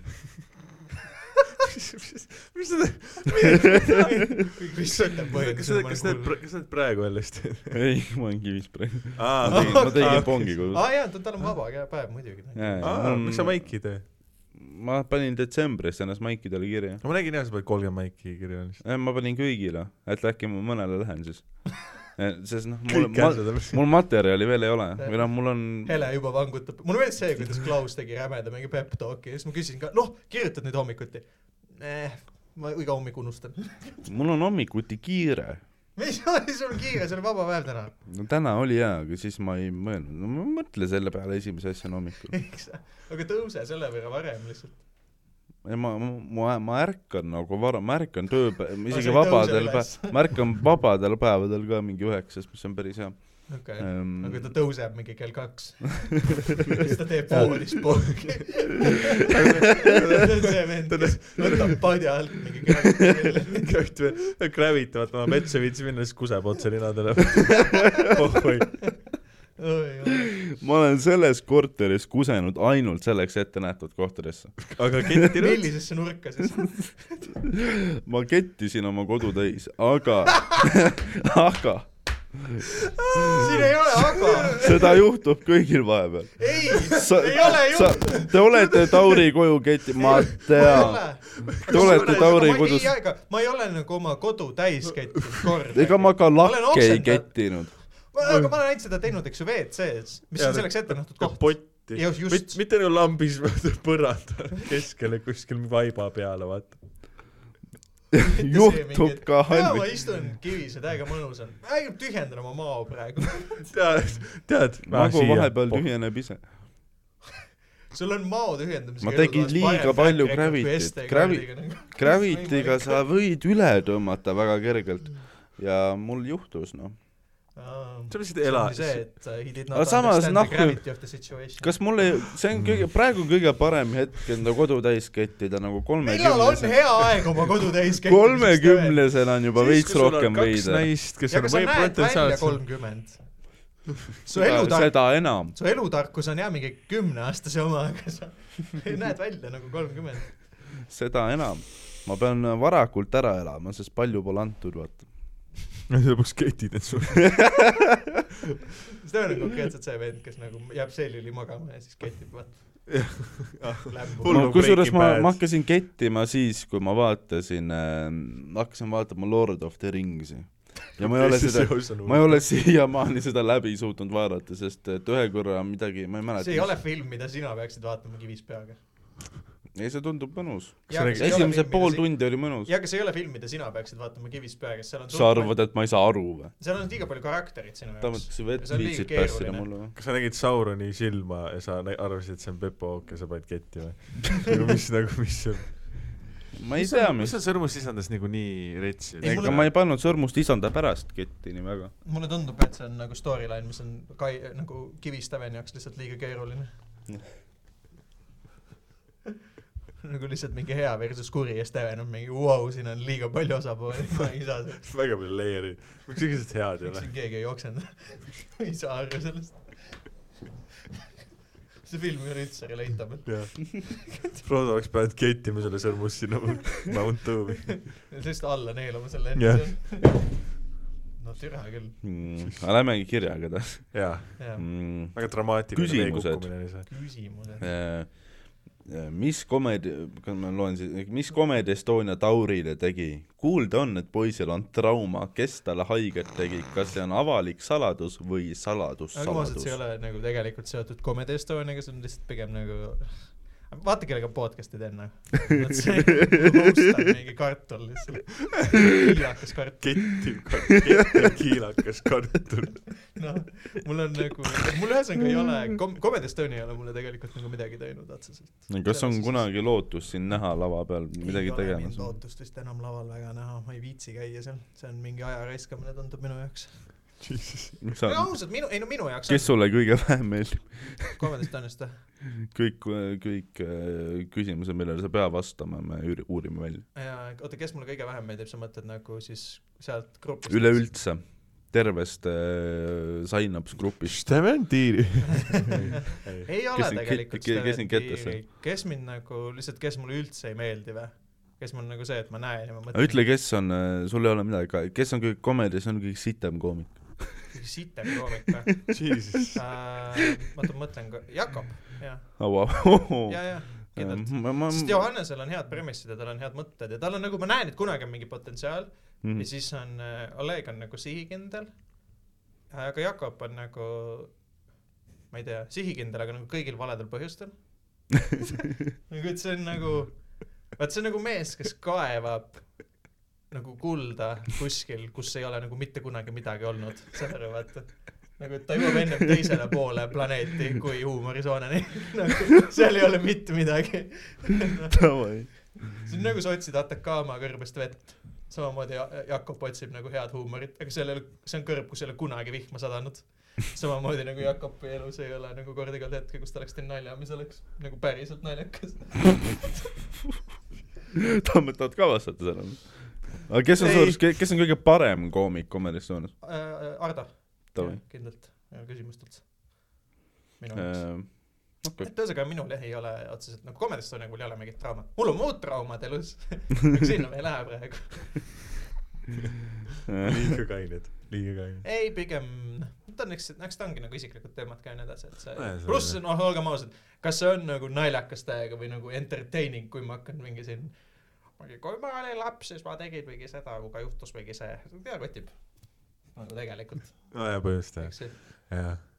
mis sa teed ,
kõik vist ütleb
kas sa , kas sa teed
põhimõtteliselt .
pra- , kas sa teed praegu jällest ?
ei , ma olen kivis praegu . ma
aa ,
tegin , ma
Ah,
tegin pongi kodus .
aa Ah, jaa , tal on vaba kä- päev muidugi .
Mm.
miks sa maiki ei tee ?
ma panin detsembris ennast maikidele kirja .
ma nägin jah , sa paned kolmkümmend maiki kirja .
ma panin kõigile , et äkki ma mõnele lähen siis . sest noh , mul ,
kõik
ma
asjad on .
mul materjali veel ei ole või noh , mul on
Hele juba vangutab , mulle meeldis see , kuidas Klaus tegi rämeda mingi pep talk'i ja siis ma küsisin ka , noh , kirjutad nüüd hommikuti eh, ? ma iga hommik unustan .
mul on hommikuti kiire .
mis oli sul kiire , see oli vaba päev täna .
no täna oli hea , aga siis ma ei mõelnud , no ma mõtlen selle peale esimese asjana hommikul .
eks , aga tõuse selle võrra varem lihtsalt .
ja ma , ma , ma ärkan nagu vara , ma ärkan tööpäev ,
No sa
isegi
ei
vabadel
tõuse üles.
päev , ma ärkan vabadel päevadel ka mingi üheksast , mis on päris hea .
okei
Ehm.
okay. , aga kui ta
aga
tõuseb mingi kell kaks , siis ta teeb voodis pongi . see vend , kes võtab padja alt mingi kell .
gravitavad oma metsa viitsi minna , siis kuseb otse ninadele . oh oi ,
ma olen selles korteris kusenud ainult selleks ette nähtud kohtadesse .
aga kettinud .
millisesse nurka siis ?
ma kettisin oma kodu täis , aga , aga
siin ei ole aga .
seda juhtub kõigil vahepeal .
ei ,
Sa-
ei ole ju .
Te olete Tauri koju keti , ma tean . Te olete Tauri kodus ,
ma ei ole nagu oma kodu täis kettinud kordagi .
ega ma ka
Olen
lakke ei
oksendanud.
kettinud .
aga ma olen ainult seda teinud , eks ju , WC-s , mis on selleks ette nähtud koht .
potti
Jah, . just.
mitte , mitte nagu lambis , vaid põrandal keskele kuskil vaiba peale , vaata .
juhtub ka
jaa , ma
halbi .
istun kivis ja täiega mõnus on . ma ainult tühjendan oma mao praegu .
tead , tead .
magu Nagu vahepeal .
Oh.
tühjeneb ise .
sul on mao tühjendamise
Ma tegin liiga palju Gravityt. Gravi-
nagu.
Gravity'ga sa võid üle tõmmata väga kergelt ja mul juhtus noh .
sa lihtsalt elad .
see , et uh, he did
Aga
not
samas
understand
nahku-
the gravity of the situation .
kas mul ei , see on kõige , praegu on kõige parem hetk enda kodu täis kettida nagu
millal on
kolmekümnesena .
hea aeg oma kodu täis käia ?
kolmekümnesena on juba veits rohkem veider .
naist , kes
ja
on
kas sa
või-
nagu
näed välja
potentsiaalselt .
kolmkümmend ? su
seda
elutark- ,
seda enam .
su elutarkus on jah mingi kümneaastase oma , aga sa näed välja nagu kolmkümmend .
seda enam . ma pean varakult ära elama , sest palju pole antud , vaata .
lõpuks ketid need sul .
see on nagu konkreetselt see vend , kes nagu jääb seelili magama ja siis ketib ,
Hullu
no
vaata .
kusjuures
Breaking
ma ,
Bad.
ma hakkasin kettima siis , kui ma vaatasin äh, , hakkasin vaatama Lord of the Rings'i . ja ma ei ole seda , ma ei ole siiamaani seda läbi suutnud vaadata , sest et ühe korra midagi , ma ei mäleta .
see ei ole film , mida sina peaksid vaatama kivis peaga .
ei , see tundub mõnus .
Kas sa räägid-
esimese pool . tundi oli mõnus .
ja aga see ei ole film , mida sina peaksid vaatama kivis peaga , sest seal on
sa arvad , et ma ei saa aru või ?
seal on liiga palju karakterit sinu jaoks .
tahad sa vett
See on liiga
viitsid päästida
keeruline.
mulle või ?
kas sa nägid Sauroni silma ja sa nä- arvasid , et see on Pepo Ook ja sa panid ketti või ? mis nagu , mis see
ma ei tea , mis
mis . seal sõrmus sisaldas niikuinii retsi ? Nagu
Ei,
ega
mulle-
ma ei pannud sõrmust isanda pärast ketti nii väga .
mulle tundub , et see on nagu storyline , mis on kai- , nagu Kivistajani jaoks lihtsalt liiga keeruline . nagu lihtsalt mingi hea versus kuri ja Steven on mingi vau wow, , siin on liiga palju osapooli , ma ei saa ,
väga palju leeri , miks sellised head ei
miks
ole
siin ? keegi ei jooksenud . ma ei saa aru sellest . see film ei ole üldse relatable .
jah , Frodo oleks pidanud kettima selle sõrmus sinna Mount Doomi .
lihtsalt alla neelama selle
Jah.
enne . no türa küll ,
Mm, aga lähmegi kirjaga edasi
jaa ,
jah .
mm. .
väga dramaatiline
Küsimused.
veekukkumine oli see .
küsimused .
Äh, mis komedi , ma loen siis , mis Comedy Estonia Taurile tegi ? kuulda on , et poisil on trauma , kes talle haiget tegi , kas see on avalik saladus või saladus ,
aga ausalt , see ei
saladus ?
ole nagu tegelikult seotud Comedy Estoniaga , see on lihtsalt pigem nagu , vaata kellega podcast'i teen nagu . see host on mingi kartul lihtsalt , kiilakas kartul ,
kettiv kartul , kettiv kiilakas kartul .
noh , mul on nagu , mul ühesõnaga ei ole , kom- , Comedy Estonia ei ole mulle tegelikult nagu midagi teinud otseselt .
kas on kunagi lootus sind näha lava peal midagi tegemas ?
lootust vist enam laval väga näha , ma ei viitsi käia seal , see on mingi aja raiskamine tundub minu jaoks . ausalt , minu , ei no minu jaoks
kes sulle kõige vähem meeldib ?
on Comedy Estoniast või ?
kõik , kõik äh, küsimused , millele sa pead vastama , me üür- uurime välja .
jaa , oota , kes mulle kõige vähem meeldib , sa mõtled nagu siis sealt grupist ?
üleüldse tervest äh, sign-ups grupist .
Steven Tiiri .
ei ole
Kes sind
tegelikult
ket- ke- kes
Steven
sind kettas
Tiiri. kes mind nagu lihtsalt , kes mulle üldse ei meeldi või ? kes mul nagu see , et ma näen ja ma mõtlen .
ütle , kes on , sul ei ole midagi ka , kes on kõige komedis , on kõige sitem koomik .
kes . sitem koomik või ?
Jesus .
oota , Äh, ma mõtlen , Jakob , jah ,
Oh.
ja , ja , kindlalt . sest
Äh, ma ,
Johannesel on head premissid ja tal on head mõtted ja tal on nagu , ma näen , et kunagi on mingi potentsiaal
Mhm.
mm. ja siis on äh, , Oleg on nagu sihikindel . aga Jakob on nagu , ma ei tea , sihikindel , aga nagu kõigil valedel põhjustel . nagu , et see on nagu , vaat see on nagu mees , kes kaevab nagu kulda kuskil , kus ei ole nagu mitte kunagi midagi olnud , saad aru , vaata . nagu , et ta jõuab ennem teisele poole planeeti kui huumorisooneni . nagu seal ei ole mitte midagi . see on nagu sa otsid Atacama kõrbest vett . samamoodi Ja- Jakob otsib nagu head huumorit , aga sellel , see on kõrb , kus ei ole kunagi vihma sadanud . samamoodi nagu Jakobi elus ei ole nagu kordagi olnud hetke , kus ta oleks teinud nalja , mis oleks nagu päriselt naljakas .
tahad , tahad ka vastata sellele ? aga kes on
Ei.
suures , kes on kõige parem koomik komedis Estonias ?
Äh, Ardo ,
Davai .
kindlalt , küsimust üldse . minu jaoks .
Äh, okei ,
et ühesõnaga minul jah ei ole otseselt nagu Comedy Estoniaga mul ei ole mingit traumat , mul on muud traumad elus . aga sinna me ei lähe praegu .
Äh,
liiga kained , liiga kained .
ei , pigem , ta on eks , eks ta ongi nagu isiklikud teemad ka ja nii edasi , et see
Nojah, , see
pluss
on-
noh , olgem ausad , kas see on nagu naljakas täiega või nagu entertaining , kui ma hakkan mingi siin , ma ei tea , kui ma olin laps , siis ma tegin mingi seda , kui ka juhtus mingi see , pea kotib . nagu tegelikult ,
nojah , põhimõtteliselt
eks ju .
jah , jah .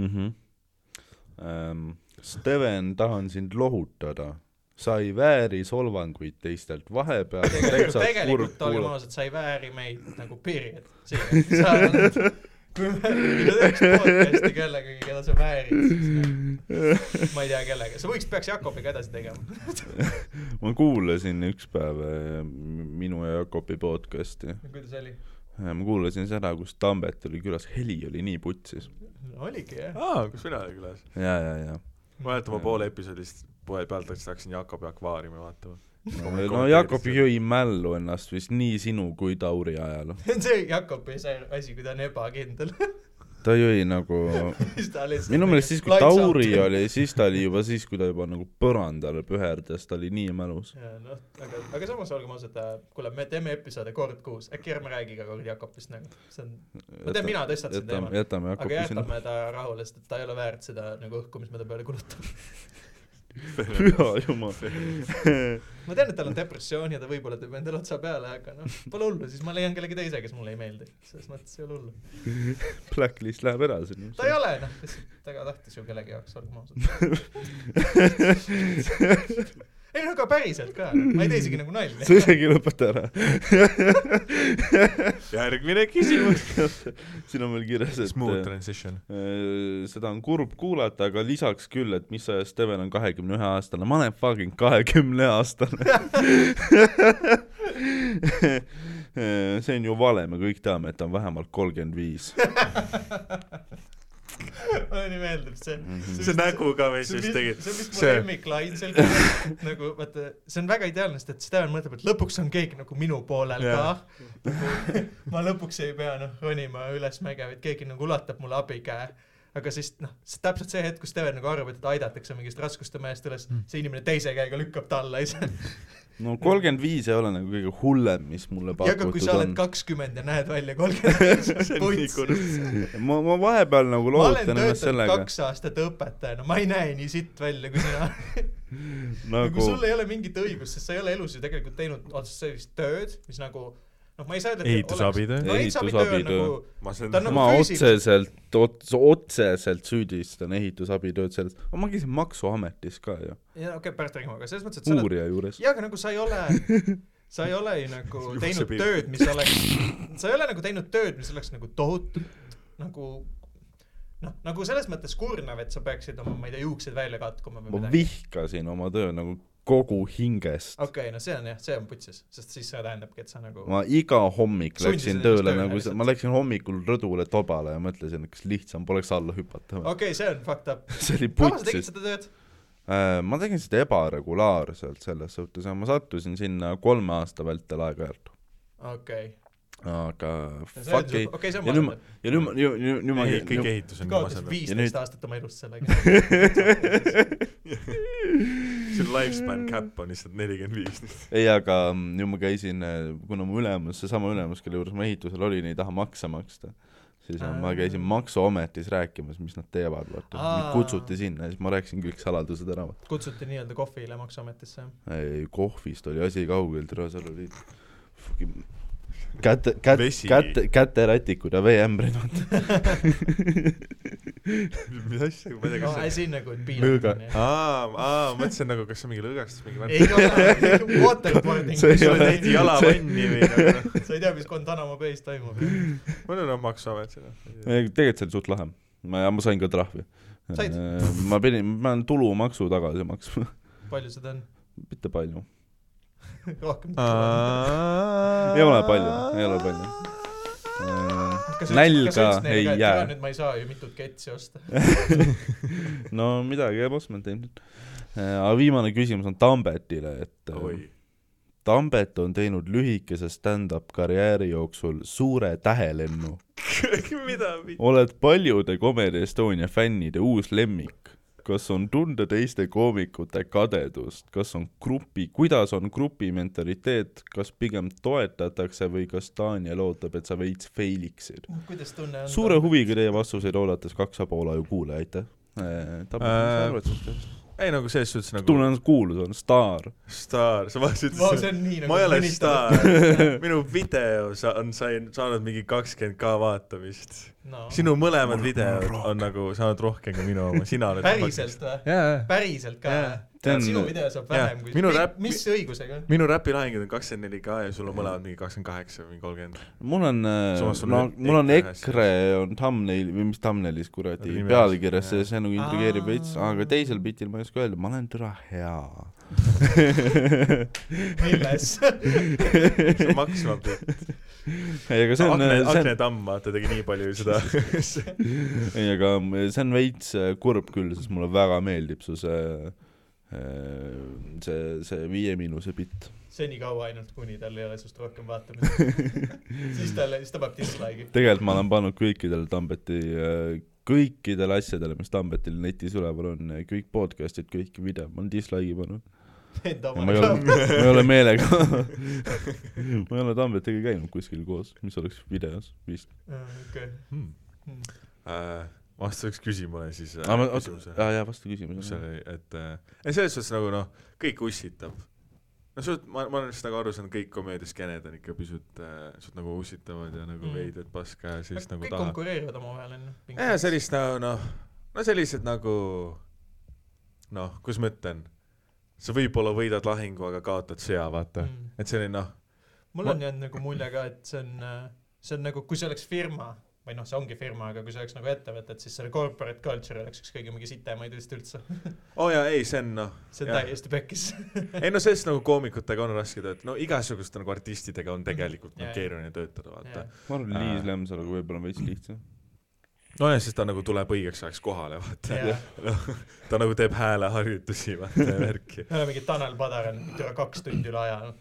mhmh . Mhm. Ähm, Steven , tahan sind lohutada . sa ei vääri solvanguid teistelt , vahepeal on
tegelikult,
täitsa kurb
tegelikult olgem
kuulata .
ausad , sa ei vääri meid nagu period . sa oled , kui me , kui me teeks podcast'i kellegagi , keda sa väärid , siis nagu, ma ei tea kellega , sa võiks , peaks Jakobiga edasi tegema .
ma kuulasin üks päev äh, minu ja Jakobi podcast'i .
kuidas oli ?
ma kuulasin seda , kus Tambet oli külas , heli oli nii putsis .
oligi jah .
aa , kus mina olin külas ?
ja , ja , ja .
mäletan , ma poole episoodist poe pealt läks- läksin Jakobi akvaariumi vaatama .
no Jakob jõi mällu ennast vist nii sinu kui Tauri ajal .
see on see Jakobi see asi , kui ta on ebakindel .
ta jõi nagu ,
siis ta lihtsalt
minu meelest siis , kui Tauri . oli , siis ta oli juba siis , kui ta juba nagu põrandale püherdas , ta oli nii mälus .
noh , aga , aga samas olgem ausad , kuule , me teeme episoode kord kuus , äkki ärme räägi ka kord Jakobist nagu , see on , ma tean , mina tõstatasin
jätame ,
teema .
jätame
aga
Jakobi sinna .
jätame ta rahule , sest et ta ei ole väärt seda nagu õhku , mis me ta peale kulutame .
püha jumal .
ma tean , et tal on depressioon ja ta võib-olla teeb endale otsa peale , aga noh , pole hullu , siis ma leian kellegi teise , kes mulle ei meeldi . selles mõttes ei ole hullu .
Blacklist läheb edasi .
ta ei ole noh , lihtsalt väga tahtis ju kellegi jaoks , olgem ausad . ei no aga päriselt ka , ma ei tee isegi nagu nalja .
sa isegi lõpeta ära .
järgmine küsimus .
siin on veel kirjas , et
Smooth transition .
äh, seda on kurb kuulata , aga lisaks küll , et mis ajast Steven on kahekümne ühe aastane , ma olen fucking kahekümne aastane . see on ju vale , me kõik teame , et ta on vähemalt kolmkümmend viis .
mulle nii meeldib see .
see nägu ka , mis
see on
siis
vist ,
tegid
see on vist mu
see-
lemmiklain seal küll , nagu vaata , see on väga ideaalne , sest et Steven mõtleb , et lõpuks on keegi nagu minu poolel
Jaa.
ka . ma lõpuks ei pea noh ronima ülesmäge , vaid keegi nagu ulatab mulle abikäe . aga siis noh , see täpselt see hetk , kus Steven nagu arvab , et aidatakse mingist raskuste mehest üles , see inimene teise käega lükkab ta alla ise .
no kolmkümmend viis ei ole nagu kõige hullem , mis mulle
ja ka
pakutud
kui sa oled
on .
kakskümmend ja näed välja kolmkümmend ,
see
siis
on nii
puts
kurb .
ma , ma vahepeal nagu
ma olen
loovutan ennast
töötanud
sellega
kaks aastat õpetajana , ma ei näe nii sitt välja kui sina . nagu
nagu
sul ei ole mingit õigust , sest sa ei ole elus ju tegelikult teinud otseselt sellist tööd , mis nagu noh , ma ei saa öelda .
Ehitusabitöö.
no ehitusabitöö on
Ehitusabitöö.
nagu ,
ma
ta on
sain ,
nagu
ma
füüsiliselt-
otseselt , otseselt süüdistan ehitusabitööd selles , ma käisin Maksuametis ka ju ,
jaa okei , pärast räägime , aga selles mõttes , et sa oled ,
uurija juures .
jaa , aga nagu sa ei ole , sa ei ole ju nagu
Juuksepilk.
teinud tööd , mis oleks , sa ei ole nagu teinud tööd , mis oleks nagu tohutult nagu noh , nagu selles mõttes kurnav , et sa peaksid oma , ma ei tea , juuksed välja katkuma või
ma
midagi .
vihkasin oma töö nagu kogu hingest .
okei , no see on jah , see on putsis , sest siis see tähendabki , et sa nagu
ma iga hommik
Sundisid ennast
läksin tööle
tööle
nagu see ,
lihtsalt.
ma läksin hommikul rõdule Tobale ja mõtlesin , et kas lihtsam poleks alla hüpata või .
okei okay, , see on fucked up .
see oli
kaua sa tegid
putsis .
seda tööd ?
Äh, ma tegin seda ebaregulaarselt selles suhtes ja ma sattusin sinna kolme aasta vältel aeg-ajalt .
okei .
aga fuck ei ,
okei , see on
ja nüüd ma
masendav .,
ja nüüd ma , nüüd , nüüd ma
kõik ehitus on nii
kaotasid
masendav .
Ja nüüd-
viisteist aastat oma elust sellega .
see lifespan cap on lihtsalt nelikümmend viis .
ei , aga mm, nüüd ma käisin , kuna mu ülemus , seesama ülemus , kelle juures ma ehitusel olin , ei taha makse maksta , siis ah. ma
Aa.
käisin Maksuametis rääkimas , mis nad teevad , vaata , mind
Aa.
kutsuti sinna ja siis ma rääkisin kõik saladused ära , vaata .
kutsuti nii-öelda kohvile Maksuametisse .
ei , kohvist oli asi kaugel , tere , seal oli fucking käte , käte ,
Vesi.
käte , käterätikud ja veeämbrid , vaata .
mis asja , ma ei tea ,
no
kas see
asi on nagu , et
Lõõga.
piinamine .
aa , aa , mõtlesin nagu , kas see on mingi lõõgastus , mingi
ei ole , waterboarding ,
See ei
sul
ole-
tehti jalavanni või nagu ,
sa ei tea , mis Guantanamo Bay's toimub .
ma olen noh , maksuamet seda .
tegelikult see oli suht lahe , ma , ma sain ka trahvi .
Said?
ma pidin , ma pean tulumaksu tagasi maksma ,
palju seda on ?
mitte palju .
rohkem .
ei
Ei ole palju, ei ole palju. Äh, nälga ei jää .
nüüd ma ei saa ju mitut ketsi osta .
no midagi jääb ostmata ilmselt . Äh, aga viimane küsimus on Tambetile , et
oi
Oi. , Tambet on teinud lühikese stand-up karjääri jooksul suure tähelennu .
mida , mida ?
oled paljude Comedy Estonia fännide uus lemmik . kas on tunda teiste koomikute kadedust , kas on grupi , kuidas on grupi mentaliteet , kas pigem toetatakse või kas Daniel ootab , et sa veits failiksid ?
kuidas tunne on ?
suure . huviga teie vastuseid oodates kaks ja pool aju kuule , aitäh .
Äh,
tunnen
ei nagu selles suhtes nagu
ennast kuulus , on staar .
staar , sa vaatasid
ma , see on nii nagu .
ma ei ole staar , minu video sa- on , sain , saanud mingi kakskümmend K vaatamist .
no. .
sinu mõlemad videod on nagu saanud rohkem kui minu oma , sina oled
päriselt või ?
jaa ,
päriselt ka
Jaa.
See
või
on- ?
sinu video saab
jaa.
vähem kui .
Minu räpp-
mis õigusega ?
minu räpilahingud on kakskümmend neli K ja sul on mõlemad mingi kakskümmend kaheksa või kolmkümmend .
mul on ,
Samas sul
no
on
mul on
EKRE ühes
EKRE on thumbnail või mis thumbnailis kuradi
Nime-
pealkirjas ,
jah.
see , see nagu intrigeerib veits ,
Aa.
aga teisel bitil ma ei oska öelda , ma olen türa hea
milles ?
see on maksma pilt .
ei , aga see on ,
Agne ,
see on
Agne , Tamm , vaata , tegi nii palju seda .
ei , aga see on veits äh, kurb küll , sest mulle väga meeldib su see , see , see Viie Miinuse bitt .
senikaua ainult , kuni tal ei ole sinust rohkem vaatamist . siis tal , siis ta paneb dislike'i .
tegelikult ma olen pannud kõikidele Tambeti , kõikidele asjadele , mis Tambetil netis üleval on , kõik podcast'id , kõik videod , ma olen dislike'i pannud .
Enda
ma ei ole ,
oma .
ma ei ole meelega , ma ei ole Tambetiga käinud kuskil koos , mis oleks videos vist .
Äh, okei .
Hmm. Äh, vastaks küsimusele siis . äh,
aa , Ah, ma , aa jaa , vasta
Mhm.
küsimusele .
see , et äh, ei, selles suhtes nagu noh , kõik ussitab . no suht- , ma , ma olen lihtsalt nagu aru saanud , kõik komöödiaskeened on ikka pisut äh, , suht nagu ussitavad ja nagu
Mm.
mm. veided paska ja siis nagu
kõik
tahad .
konkureerivad omavahel onju .
jah , sellist nagu noh , no sellised nagu noh , kuidas ma ütlen , sa võib-olla võidad lahingu , aga kaotad sõja , vaata
Mhm.
mm. . et selline noh ,
mul on jäänud nagu mulje ka , et see on , see on nagu , kui see oleks firma või noh , see ongi firma , aga kui see oleks nagu ettevõte , et siis selle corporate culture oleks üks kõige mingi sitemaid vist üldse .
oo oh jaa , ei see on noh ,
see on
Jah.
täiesti pekkis .
ei no selles nagu koomikutega on raske töötada , no igasuguste nagu artistidega on tegelikult
Jaa,
yeah.
jaa.
keeruline töötada , vaata yeah. .
ma arvan ,
Aa.
Liis Lemsaluga võib-olla on veits lihtsam .
nojah , siis ta nagu tuleb õigeks ajaks kohale , vaata
Jah.
noh , ta nagu teeb hääleharjutusi , vaata ja värki .
me oleme mingi Tanel Padar on türa kaks tundi üle aja .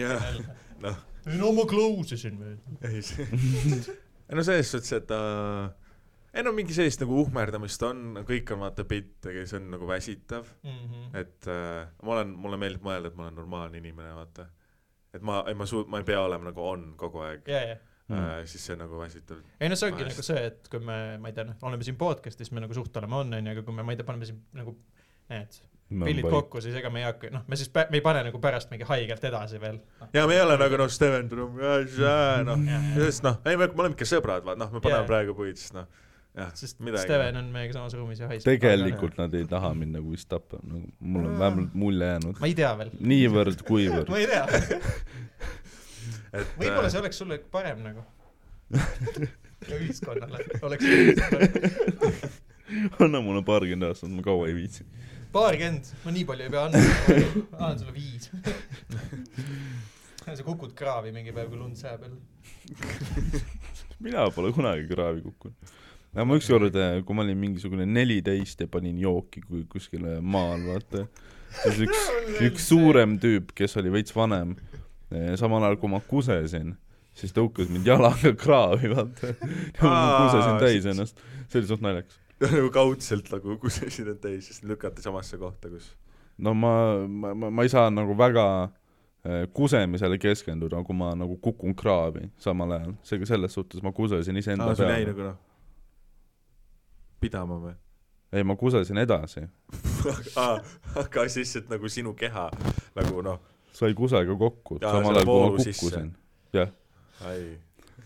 Jah,
noh
noh. .
no ma close isin veel .
ei see- ei no selles suhtes , et ta , ei no mingi sellist nagu uhmerdamist on , kõik on vaata pilt , aga see on nagu väsitav ,
Mhm.
et äh, ma olen , mulle meeldib mõelda , et ma olen normaalne inimene , vaata . et ma , ei ma suu- , ma ei pea olema nagu on kogu aeg
ja , ja .
mm. , äh, siis see on nagu väsitav .
ei no see ongi
Vahest.
nagu see , et kui me , ma ei tea , noh , oleme siin podcast'is , me nagu suhtleme on , onju , aga kui me , ma ei tea , paneme siin nagu need pillid kokku , siis ega me ei hakka , noh , me siis , me ei pane nagu pärast mingi haigelt edasi veel .
ja me ei ole nagu noh , Steven Trump , noh ,
jah ,
sest noh , ei me , me oleme ikka sõbrad , vaata , noh , me paneme
Jaa.
yeah. praegu puid , siis noh , jah ,
sest
midagi.
Steven on meiega samas ruumis ja haiseb .
tegelikult nad ei taha mind nagu vist tappa , nagu mul on vähemalt mulje jäänud .
ma ei tea veel .
niivõrd-kuivõrd .
ma ei tea ,
et äh,
võib-olla see oleks sulle parem nagu . ja ühiskonnale oleks .
anna mulle paarkümmend aastat , ma kaua ei viitsi .
paarkümmend , ma nii palju ei pea andma , annan sulle viis . sa kukud kraavi mingi päev , kui lund sajab jälle .
mina pole kunagi kraavi kukkunud . aga ma ükskord , kui ma olin mingisugune neliteist ja panin jooki kui kuskile maal , vaata . siis üks , üks suurem tüüp , kes oli veits vanem , samal ajal kui ma kusesin , siis tõukas mind jalaga kraavi , vaata . ja ma
Aa,
kusesin täis
siis-
ennast . see oli suht naljakas .
nagu kaudselt nagu kusesid end täis , siis lükati samasse kohta , kus
no ma , ma , ma , ma ei saa nagu väga eh, kusemisele keskenduda , kui ma nagu kukun kraavi samal ajal , seega selles suhtes ma kusesin iseenda
aa ,
ah,
sul jäi
peale .
nagu noh , pidama või ?
ei , ma kusesin edasi ,
aa , aga siis lihtsalt nagu sinu keha nagu noh ,
sai kusega kokku ,
Jaa,
samal
selle
ajal kui ma
voolu sisse.
kukkusin .
ai .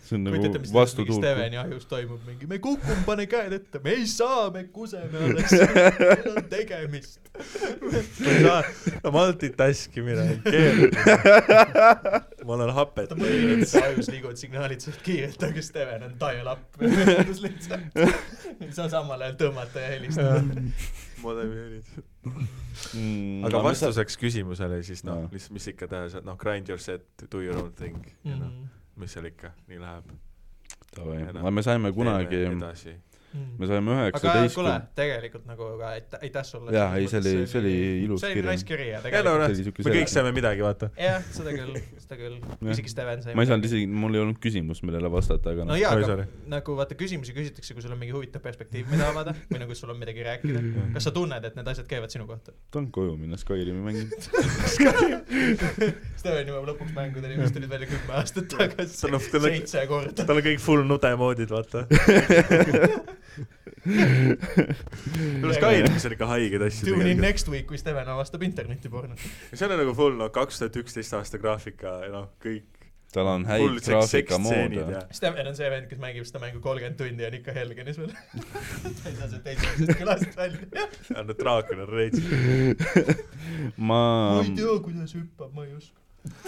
see on
kujutate , mis
nagu
täpselt mingi
vastutuul .
Steveni ahjus toimub , mingi me kukume , pane käed ette , me ei saa , me kuseme alles , meil on tegemist .
multitask imine on keeruline . ma olen hapet
vaata , mõni inimese ajus liiguvad signaalid suht kiirelt , aga Steven on dial up ühendus lihtsalt . ei saa samal ajal tõmmata ja helistada . Mm,
modemihelisid .
Mm,
aga . vastuseks küsimusele siis noh
Jaa. ,
mis , mis ikka teha saad , noh , grind your set , do your own thing
Mhm. mm,
ja noh , mis seal ikka , nii läheb .
aga me saime kunagi ,
edasi .
mm. .
me saime
aga kuule
üheksateistkümne ,,
tegelikult nagu ka aitäh , aitäh sulle .
Jaa, ei, see oli- see oli ilus
see
kiri.
oli nice kiri ja
ei no noh ,
tegelikult .
See oli siuke
me kõik
selge.
saime midagi , vaata .
jah , seda küll , seda küll .
Jah.
isegi Steven sai .
ma ei saanud isegi , mul ei olnud küsimust , millele vastata , aga noh,
no jaa ,
Sorry,
aga
sorry.
nagu vaata küsimusi küsitakse , kui sul on mingi huvitav perspektiiv , mida avada või nagu sul on midagi rääkida . kas sa tunned , et need asjad käivad sinu kohta ?
tahan koju minna Skyrimi mängima .
Steven jõuab lõpuks mängudeni , mis tulid välja kümme aastat tagasi
Tal . on- tal on-
seitse korda .
tal on kõik full nude moodid , vaata . no Skyrimis on ikka haigeid asju
Tune in . next week , kui Steven avastab internetipornot .
seal on nagu full , noh , kaks tuhat üksteist aasta graafika ja noh , kõik .
tal on häid graafikamood .
Steven on see vend , kes mängib seda mängu kolmkümmend tundi ja on ikka helgenis veel . ta ei saa sealt teisest külast välja .
ja no draakon on reits .
ma
ma ,
ei
ma
tea , kuidas hüppab , ma ei oska .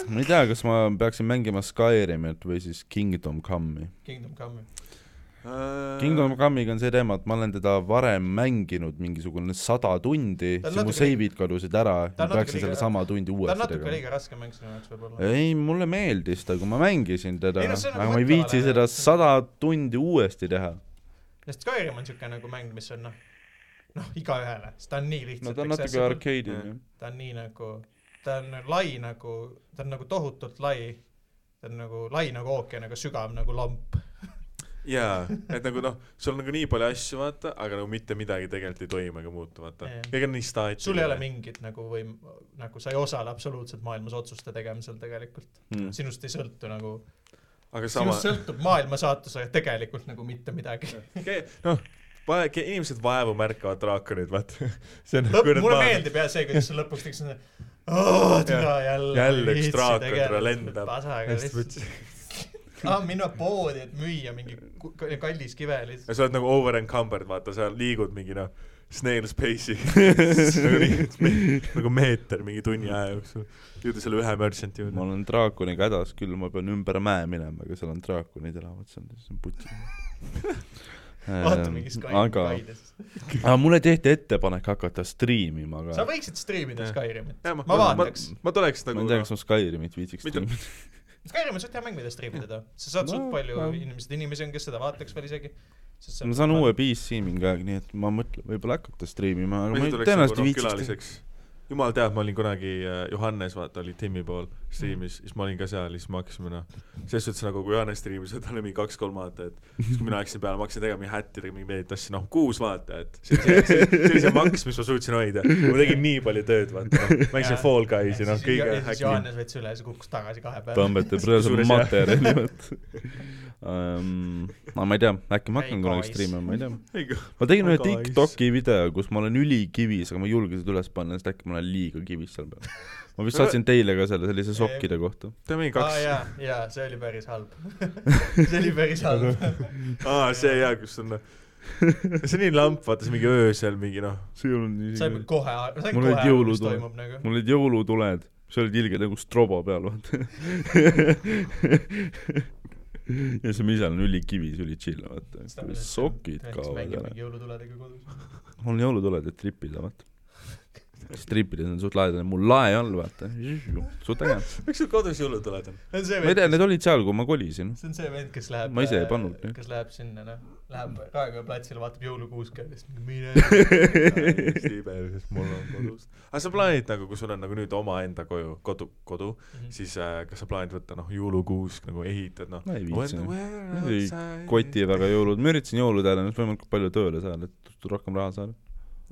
ei tea , kas ma peaksin mängima Skyrimit või siis Kingdom Come'i .
Kingdom Come . Äh.
Kingdom . Come'iga on see teema , et ma olen teda varem mänginud mingisugune sada tundi ,
Ta on
siis mu
natuke
seivid kadusid ära ,
ta
ma
on natuke
peaksin selle
liiga-
sama tundi
ta on
uuesti
natuke
tegema .
liiga raske mäng sinu jaoks võib-olla .
ei , mulle meeldis ta , kui ma mängisin teda ,
Ei no see on
aga
nagu
ma ei viitsi
mõtlevale-
seda sada tundi uuesti teha .
sest Skyrim on siuke nagu mäng , mis on noh , noh igaühele , sest ta on nii lihtsalt
no ta on natuke
accessible ,
Jah.
arcade'ine .
ta on nii nagu , ta on lai nagu , ta on nagu tohutult lai , ta on nagu lai nagu ookean , aga sügav nagu lomp .
jaa , et nagu noh , sul on nagu nii palju asju , vaata , aga nagu mitte midagi tegelikult ei toimu ega muutu , vaata
Jaa. .
kõik on nii staatiline .
sul ei ole mingit nagu võim- , nagu sa ei osale absoluutselt maailmas otsuste tegemisel tegelikult .
Hmm. Mm.
sinust ei sõltu nagu ,
aga sama
sinust , sõltub maailma saatus , aga tegelikult nagu mitte midagi .
noh , inimesed vaevu märkavad draakonit , vaata . see on nagu
lõpp , mulle
maad-
meeldib jah see , kuidas sa lõpuks teeks seda , oo , türa jälle .
jälle üks draakon tule lendab .
pasaga
hästi
lihtsalt .
võtsin .
ah, minna poodi , et müüa mingi ku- ka- kallis kive lihtsalt .
ja sa oled nagu over encumbered , vaata , sa liigud mingi noh , snail space'i nagu, liigud me- nagu meeter mingi tunni aja jooksul . jõuda selle ühe merchant'i
ma
juurde .
olen draakoniga hädas küll , ma pean ümber mäe minema , aga seal on draakonid elavad seal , siis on putsi .
vaata mingi Skyrim
aga ,
Kaides .
aga mulle tehti ettepanek hakata striimima
sa
ka .
võiksid striimida
Jah.
Skyrimit .
ma,
ma vaataks. .
ma tuleks
ma
nagu
ei tea , kas ma Skyrimit viitsiks
Mitte-
striimida .
Skyrim on suht hea mäng , mida striimida ta . sa saad suht
No,
palju
ma-
inimesi , inimesi on , kes seda vaataks veel isegi .
ma saan uue PC mingi aeg , nii et ma mõtlen , võib-olla hakata striimima , aga ma
ma
ei-
tuleks nagu noh,
tõenäoliselt ei viitsiks teha .
külaliseks . jumal teab , ma olin kunagi äh, Johannes , vaata , oli Timmi pool
Mm.
striimis , siis ma olin ka seal , siis me hakkasime noh , selles suhtes nagu kui Johannes striimis , tal oli mingi kaks-kolm vaatajat , siis kui mina läksin peale , ma hakkasin tegema mingi hätti , tegema mingi meid , tassin noh , kuus vaatajat . see oli see , see oli see maks , mis ma suutsin hoida , ma tegin nii palju tööd , vaata noh. mängisin Fall Guysi , noh , kõige häkki .
Johannes võttis üle ja see kukkus tagasi kahe peale .
tõmbate praegu
Kusjuures jah.
materjali , vot . no ma ei tea , äkki ma hakkan
Hey,
kunagi
guys.
striimima , ma ei tea . ma tegin ühe Tiktoki video , kus ma olen ülikivis , aga ma ei julge seda üles panna , sest äkki ma olen liiga kivis seal peal . ma vist saatsin teile ka selle sellise sokkide kohta .
teeme mingi
aa
kaks ,
jaa , jaa , see oli päris halb . see oli päris halb .
aa see jaa , kus on , see on nii lamp , vaata see mingi öösel mingi noh ,
see ei olnud nii
saime kohe , saime
Mul
kohe aru , mis
olid jõulud on.
toimub nagu .
mul olid jõulutuled , see oli ilge nagu strobo peal , vaata . ja siis ma ise olen ülikivis , üli chill , vaata . sokid kaovad ära .
jõulutuledega kodus .
mul on jõulutuled , et tripida , vaata . siis tripides on suht lahedane , mul lae all , vaata . suht äge .
miks sul kodus jõulud oled ?
see on see
ma ei tea , need olid seal , kui ma kolisin .
see on see vend , kes läheb äh,
Ma ise ei pannud, jah. Mm.
kes läheb sinna noh , läheb Raekoja platsile , vaatab jõulukuuske ja siis mingi mine
siis mul on kodus . aga sa plaanid nagu , kui sul on nagu nüüd omaenda koju , kodu , kodu ,
Mhm.
siis äh, kas sa plaanid võtta noh , jõulukuusk nagu ehitad noh ?
ma ei viitsinud . Ei, koti taga jõulud , ma üritasin jõulude ajal ennast võimalikult palju tööle saada , et rohkem raha saada .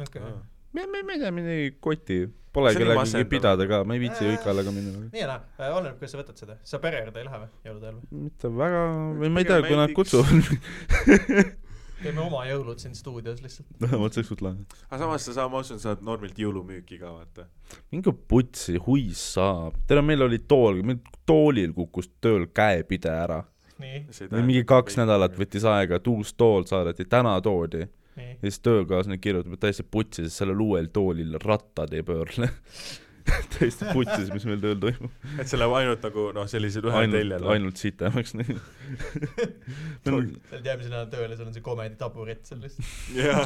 okay.
me , me , me ei tea , midagi koti , pole
See on nii
kellegagi
masendav.
pidada ka , ma ei viitsi
Äh.
Õikallaga minna .
nii ja naa , oleneb , kuidas sa võtad seda , sa pere juurde ei lähe või , jõulude ajal või ?
mitte väga , või ma ei tea
Pigem ,
kui nad
näiteks-
kutsuvad ,
teeme oma jõulud siin stuudios lihtsalt .
vot see oleks suht lahe .
aga samas sa saad , ma usun , saad normilt jõulumüüki ka vaata .
minge putsi , huis saab , tead , meil oli tool , meil toolil kukkus tööl käepide ära .
nii ,
meil mingi kaks nädalat . võttis aega , et uus tool saadeti , täna toodi .
nii .
ja siis töökaaslane kirjutab , et täiesti putsi , sest sellel uuel toolil rattad ei pöörle . täiesti putsi , mis meil tööl toimub .
et see läheb ainult nagu noh , sellisel ühel
ainult ,
teljel .
ainult sitemaks neid .
sa oled järgmisel nädalal tööl ja sul on see komedi taburet seal lihtsalt .
jaa ,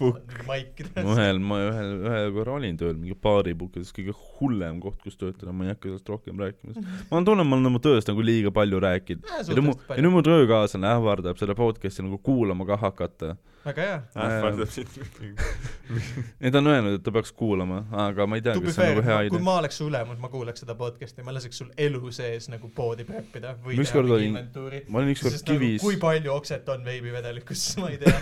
Pukk.
maikida .
ühel , ma ühel , ühe korra olin tööl mingi baaripukkides , kõige hullem koht , kus töötada , ma ei hakka sellest rohkem rääkima , sest ma tunnen , ma olen oma tööst nagu liiga palju rääkinud .
Äh,
ja nüüd mu , ja nüüd mu töökaaslane ähvardab selle podcast'i nagu kuulama ka hakata .
väga hea .
ähvardab sind .
ei , ta on öelnud , et ta peaks kuulama , aga ma ei tea ,
To be
kas see on
fair
nagu hea ,
kui
idee .
ma oleks su ülemus , ma kuulaks seda podcast'i , ma laseks sul elu sees nagu poodi preppida või
Ma ükskord olin-
inventuuri .
ma olin ükskord
sest nagu
kivis
kui , palju okset on veibivedelikus , ma ei tea .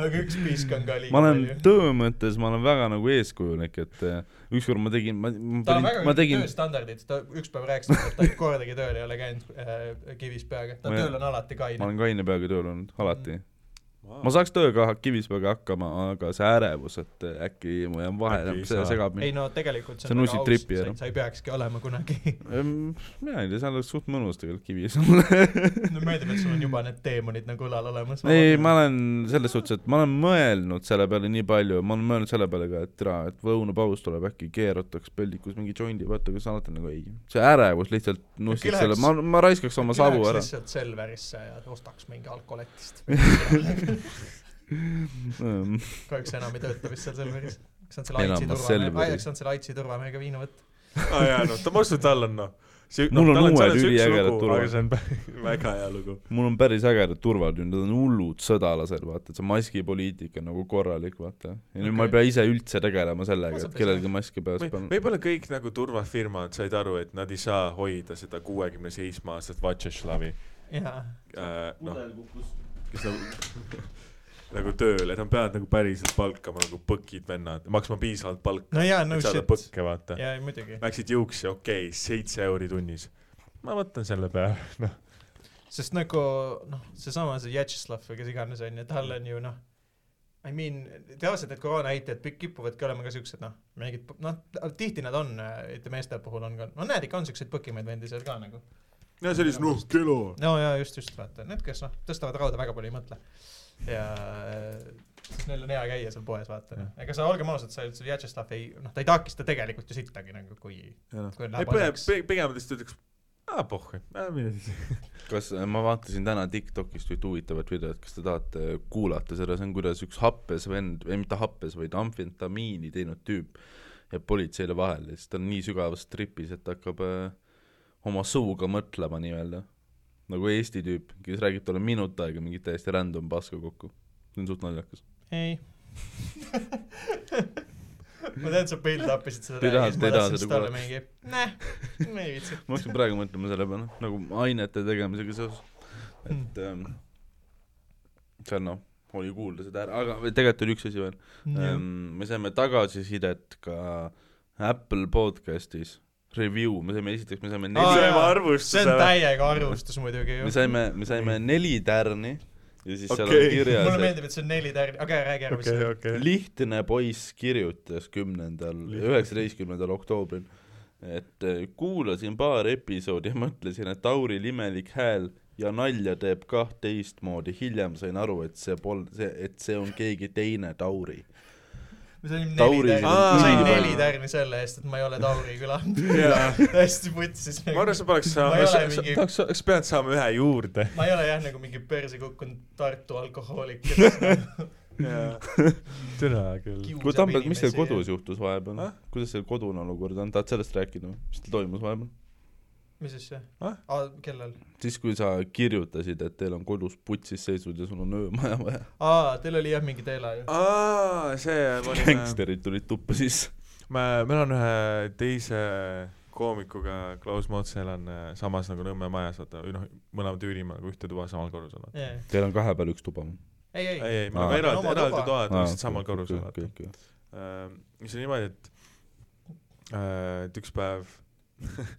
aga üks piisk on ka liiga
ma olen
palju .
töö mõttes , ma olen väga nagu eeskujulik , et eh, ükskord ma tegin , ma , ma
ta on
panin
väga ,
ma
kõrged
tegin ,
tööstandardid , ta üks päev rääkis , et ta kordagi tööl ei ole käinud äh, kivis peaga , ta
Ma ei-
tööl on alati
ma
kaine .
olen kaine peaga tööl olnud , alati . ma saaks tööga ha- Kivispeaga hakkama , aga see ärevus , et äkki ma jään vahele
Äkki ei ,
see
saa.
segab
ei
mind .
no tegelikult see
See
on väga
nussib
aus ,
tripi noh. ära.
sa ei peakski olema kunagi .
mina ei tea , seal oleks suht mõnus tegelikult Kivis olla .
no meeldib , et sul on juba need teemonid nagu õlal olemas .
ei , ma olen selles suhtes , et ma olen mõelnud selle peale nii palju , ma olen mõelnud selle peale ka , et tere , et lõunapaus tuleb , äkki keerutaks peldikus mingi jondi võtta , aga saate nagu ei . see ärevus lihtsalt nussib
läheks-
selle , ma , ma raiskaks oma savu ära .
lihtsalt Selverisse ja ostaks mingi alkoletist .
Äh,
kahjuks enam ei tööta vist seal Selveris . kas nad selle
Enam
Aitsi
noh,
ma
turvamehe ,
Selveris.
kas nad selle Aitsi turvamehega viina võtta ?
aa Ah, jaa , no ta , ma usun , et tal on noh .
Mul on uued üliägedad turvad.
aga see on pä- väga hea lugu .
mul on päris ägedad turvad nüüd , nad on hullud sõdalased , vaata , et see maskipoliitika on nagu korralik , vaata . ja nüüd okay. ma ei
Okei.
pea ise üldse tegelema sellega ,
Ausalt
et
ei
kellelgi maski peas
Või-
panna .
võib-olla kõik nagu turvafirmad said aru , et nad ei saa hoida seda kuuekümne seitsme aastast Vatšeslavi
jaa .
äh, , noh , kes nagu nagu tööl , et nad peavad nagu päriselt palkama nagu põkid vennad , maksma piisavalt palka ,
no jaa , no
et saada
shit .
põkke , vaata .
jaa , muidugi .
Läksid juukse , okei okay, , seitse euri tunnis . ma võtan selle peale , noh .
sest nagu noh , seesama see Vjatšeslav või kes iganes on ju , tal on ju noh , I mean , tavaliselt need koroonaheitajad pi- kipuvadki olema ka siuksed noh , mingid p- noh , tihti nad on , ütleme meeste puhul on ka , no näed ikka on siukseid põkimeid vendi seal ka nagu .
ja see oli siis noh , kilo .
no jaa , just , just vaata , need , kes noh , tõstavad rauda väga palju ei mõtle . ja siis neil on hea käia seal poes , vaata noh , ega sa olgem ausad , sa üldse Vjatšeslav ei , noh , ta ei takista tegelikult ju sittagi nagu , kui , kui
noh. ei
läheb
põe-
asjaks .
pe- pigem ta lihtsalt ütleks , aa pohhu , mine siis .
kas , ma vaatasin täna Tiktokist ühte huvitavat videot , kas te tahate kuulata seda , see on kuidas üks happes vend , või mitte happes , vaid amfetamiini teinud tüüp jääb politseile vahele ja siis ta on nii sügavas tripis , et ta hakkab äh, oma suuga mõtlema nii-öelda . nagu Eesti tüüp , kes räägib talle minut aega mingit täiesti random paska kokku . see on suht naljakas .
ei ma tean , sa build-up'isid seda
Te ei taha-
rääkides ,
te
ma
ei taha
tahtsin
seda
seda olla
kuulata.
mingi , näh , ma ei viitsi .
ma hakkasin praegu mõtlema selle peale , nagu ainete tegemisega seoses , et
Hmm.
ähm, seal noh , oli kuulda seda ära , aga või tegelikult oli üks asi veel ähm, , me saime tagasisidet ka Apple podcast'is , review , me saime esiteks , me
Aa,
saime neli ,
jaa.
see on täiega arvustus muidugi ju
me . saime , me saime neli tärni ja siis okay. seal
Okei.
on kirjas ,
mulle
et
meeldib , et see on neli tärni , aga räägi ära , mis
okei ,
see
okei .
lihtne poiss kirjutas kümnendal ,
Lihtne.
üheksateistkümnendal oktoobril , et eh, kuulasin paar episoodi ja mõtlesin , et Tauril imelik hääl ja nalja teeb kah teistmoodi , hiljem sain aru , et see polnud , see , et see on keegi teine Tauri .
me saime
Tauri-
neli tärni ,
Aa.
ma sain
Aa.
neli tärni selle eest , et ma ei ole Tauri külanud .
jaa ,
hästi putsis .
ma arvan , sa peaks
Ma ei ole
saama
mingi- ,
sa pead saama ühe juurde .
ma ei ole jah nagu mingi perse kukkunud Tartu alkohoolik , kes
türa küll .
kiusab
kuule , Tambet , mis teil
inimesi
kodus
ja-
juhtus vahepeal
Ah? ?
kuidas see kodune olukord on , tahad sellest rääkida või ? mis teil toimus vahepeal ?
mis siis see
Ah? ?
kellel ?
siis , kui sa kirjutasid , et teil on kodus putsis seisud ja sul on öömaja vaja .
aa , teil oli jah mingi teela ju .
aa , see , ma olin ,
gängsterid tulid tuppa sisse .
ma , meil on ühe teise koomikuga , Klaus Motsel on äh, samas nagu Nõmme majas , vaata , või noh , mõlemad üürime nagu ühte tuba samal korrusel , vaata .
ei ,
Teil on kahe peal üks tuba või ?
ei ,
ei ,
ei ,
ei , me oleme
Aa.
Meil on
eraldi ,
oma
eraldi
tuba.
toad ,
Aa,
lihtsalt samal
okei,
korrusel ,
okei,
vaata .
okei, okei.
Äh, mis on niimoodi , et äh, et üks päev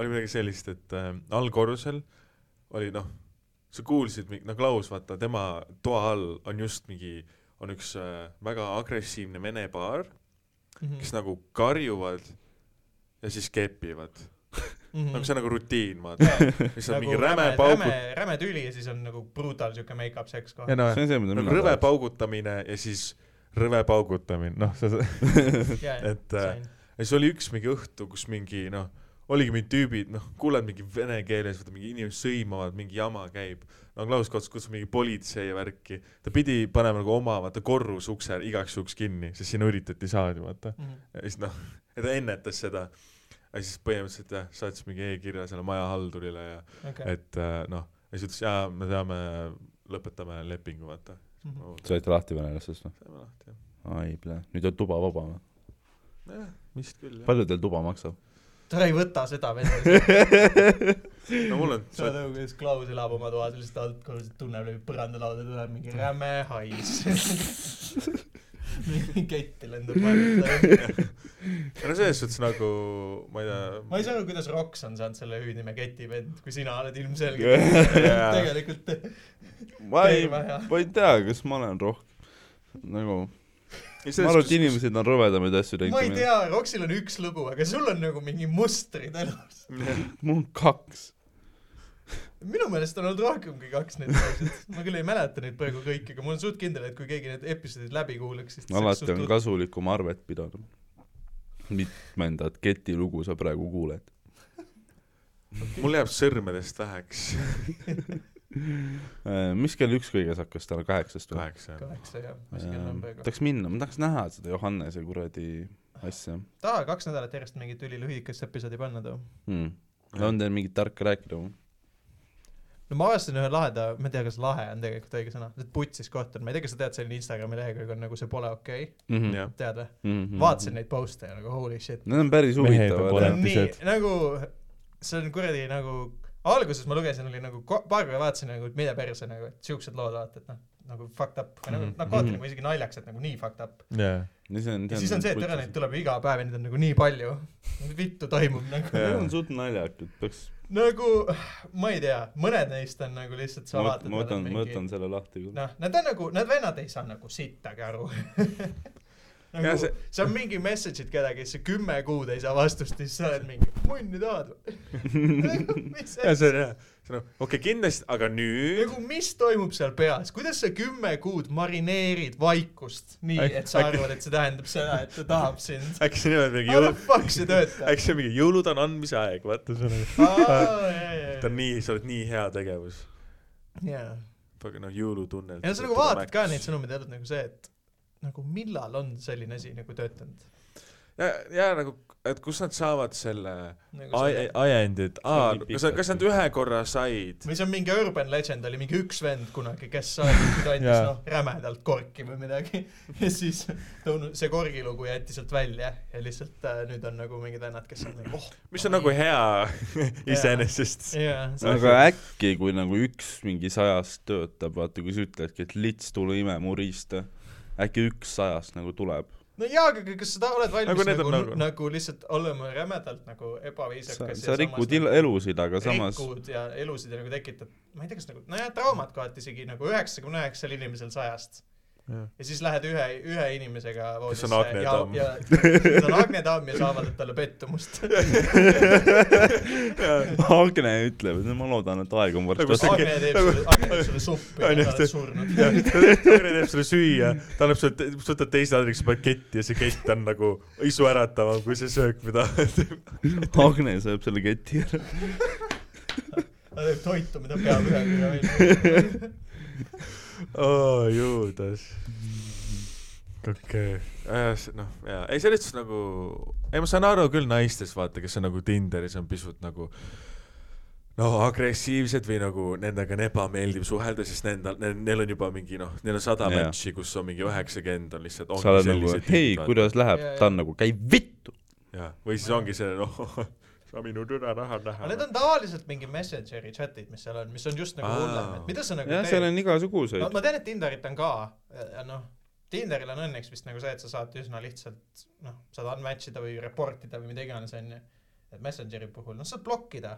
oli midagi sellist , et äh, allkorrusel oli noh , sa kuulsid , no Klaus , vaata tema toa all on just mingi , on üks äh, väga agressiivne vene paar ,
Mhm.
kes nagu karjuvad ja siis kepivad mm. . nagu see on nagu rutiin , vaata . siis on mingi räme paugud- ,
Mhm. Hmm. Nagu räme , räme tüli ja siis on nagu brutal siuke make-up seks kohe
ja . noh ,
see on see , mida
nagu rõve paugutamine ja siis rõve paugutamine , noh , see ,
Jaa, jaa,
et, äh,
sain.
ja siis oli üks mingi õhtu , kus mingi noh , oligi mingid tüübid , noh , kuuled mingi vene keeles , vaata mingi inimesed sõimavad , mingi jama käib . no Klaus Kots kutsus mingi politsei ja värki , ta pidi panema nagu oma vaata korrusukse igaks juhuks kinni , sest sinna üritati saada , vaata .
Mhm.
ja siis noh , ta ennetas seda . ja siis põhimõtteliselt jah , saatis mingi e-kirja selle majahaldurile ja
okei .
et äh, noh , ja siis ütles jaa , me peame , lõpetame lepingu , vaata .
Mhm.
saite lahti venelastest või ?
saime lahti jah.
ai , plee , nüüd on tuba vaba või ?
jah , vist küll jah .
palju teil tuba maksab ?
ta ei võta seda vett .
no mul on ,
saad aru , kuidas Klaus elab oma toas ja lihtsalt altkorruselt tunneb läbi põrandalauda , tuleb mingi räme hais . mingi kett lendab vahele .
no selles suhtes nagu ma ei tea .
ma ei saa aru , kuidas Roks on saanud selle hüüdnime ketivend , kui sina oled ilmselgelt
Jaa.
tegelikult
ma ei ,
Terve hea.
ma ei tea , kas ma olen rohkem nagu , ma arvan , et
ma
inimesed on rõvedamaid asju
ma ei
teinud .
tea , Roksil on üks lugu , aga sul on nagu mingi mustrid elus .
mul on kaks .
minu meelest on olnud rohkem kui kaks neid asju , ma küll ei mäleta neid praegu kõiki , aga ma olen suht kindel , et kui keegi need episoodid läbi kuulaks , siis
alati on kasulikum arvet pidada . mitmendat keti lugu sa praegu kuuled ?
mul jääb sõrmedest väheks
Äh, mis kell üks kõiges hakkas täna , kaheksast või ?
kaheksa jah.
kaheksa jah , ma isegi enam praegu .
tahaks minna , ma tahaks näha seda Johannese kuradi asja
taha kaks nädalat järjest mingit ülilühikest episoodi panna too .
hmm. . on teil mingit tarka rääkida või ?
no ma avastasin ühe laheda , ma ei tea , kas lahe on tegelikult õige sõna , putsis koht on , ma ei tea , kas sa tead , selline Instagrami lehekülg on nagu see pole okei okay. ,
Mhm. jah .
tead või ?
Mhm.
vaatasin . neid post'e ja nagu holy shit .
Need on päris
Mehed on Mhm.
huvitavad
pole-
see . on nii
Oletised.
nagu , see on kuradi nagu , alguses ma lugesin , oli nagu ko- paar korda vaatasin nagu , et mida perse nagu , et siuksed lood vaata , et noh , nagu fucked up või nagu
Mhm.
mm. , nad kaotavad nagu isegi naljaks , et nagu nii fucked up .
jah .
ja
ja siis on see , et ära neid tuleb ju iga päev ja neid on nagu nii palju . mis vittu toimub nagu ,
Need on suht naljakad , peaks ,
nagu ma ei tea , mõned neist on nagu lihtsalt sa
ma
vaatad .
võtan , ma võtan , ma võtan selle lahti küll .
noh , nad on nagu , need vennad ei saa nagu sittagi aru .
Ja
nagu
see-
see... sa mingi message'id kedagi , siis sa kümme kuud ei saa vastust ja siis sa oled mingi , munni tahad või ? mis
ja
asi
see , on jah , see on nagu, okei okay, , kindlasti , aga nüüd
nagu mis toimub seal peas , kuidas sa kümme kuud marineerid vaikust nii ,
Äkki-
et sa
äkki-
arvad , et see tähendab seda , et ta tahab sind .
äkki see nimi on mingi
How the
jõul- ,
fuck see töötab ?
äkki see on mingi jõulud on andmise aeg , vaata see on nagu , ta on
jaa ,
nii , sa oled nii hea tegevus .
jaa .
aga noh , jõulutunnel .
ja sa nagu vaatad ka neid . sõnumeid ja oled nagu see , et nagu millal on selline asi nagu töötanud
ja , ja nagu , et kust nad saavad selle
nagu see-
aj- ajendit , aa ,
See on nii
kas , kas nad ühe korra said ?
või see on mingi urban legend , oli mingi üks vend kunagi , kes andis
Jaa.
noh , rämedalt korki või midagi ja siis ta unu- see korgilugu jäeti sealt välja ja lihtsalt äh, nüüd on nagu mingid vennad , kes on nagu oh .
mis on nagu hea iseenesest .
jaa ,
aga äkki , kui nagu üks mingi sajast töötab , vaata kui sa ütledki , et lits tule ime mu riista , äkki üks sajast nagu tuleb .
no jaa , aga kas sa ta- oled valmis
Nagu
nagu,
need
nagu,
on
nagu,
nagu-
nagu lihtsalt olema rämedalt nagu
sa
ebaviisakas ,
sa rikud
nagu
il- elusid , aga samas
rikud ja elusid ja nagu tekitad , ma ei tea , kas nagu , nojah , traumad kohati isegi nagu üheksakümne üheksal inimesel sajast ja siis lähed ühe , ühe inimesega voodisse
on Agne
ja
Tamm. ,
ja kes on Agne Tamm ja sa avaldad talle pettumust .
Agne ütleb , et ma loodan , et aeg on varsti
Nagu see-
otsa .
Agne
Onju,
teeb sulle , Agne teeb sulle suppi ja sa
see-
oled surnud .
Tõrje teeb sulle süüa , ta annab sulle , sa võtad teise aadressiga paketti ja see kett on nagu isu äratavam kui see söök , mida
Agne sööb selle keti ära .
ta teeb toitu , mida peab ühe korra välja .
oh, . juudas . okei okay. , noh , jaa , ei selles suhtes nagu , ei ma saan aru küll naistest , vaata , kes on nagu Tinderis on pisut nagu no agressiivsed või nagu nendega on ebameeldiv suhelda , sest nendel , neil on juba mingi noh , neil on sada
Jaa.
match'i , kus on mingi üheksakümmend on lihtsalt
sa oled nagu , hei , kuidas läheb
Jaa, ,
ta on nagu , käi vittu .
jah , või siis ongi see noh , sa minu türa raha
aga need
näha .
on tavaliselt mingi messengeri chat'id , mis seal on , mis on just nagu
Aa.
hullem , et mida sa nagu
jah , seal
teed .
on
ma
igasuguseid .
ma tean , et Tinderit on ka , noh , Tinderil on õnneks vist nagu see , et sa saad üsna lihtsalt , noh , saad unmatch ida või report ida või mida iganes , onju . et Messengeri puhul , noh , saad blokkida .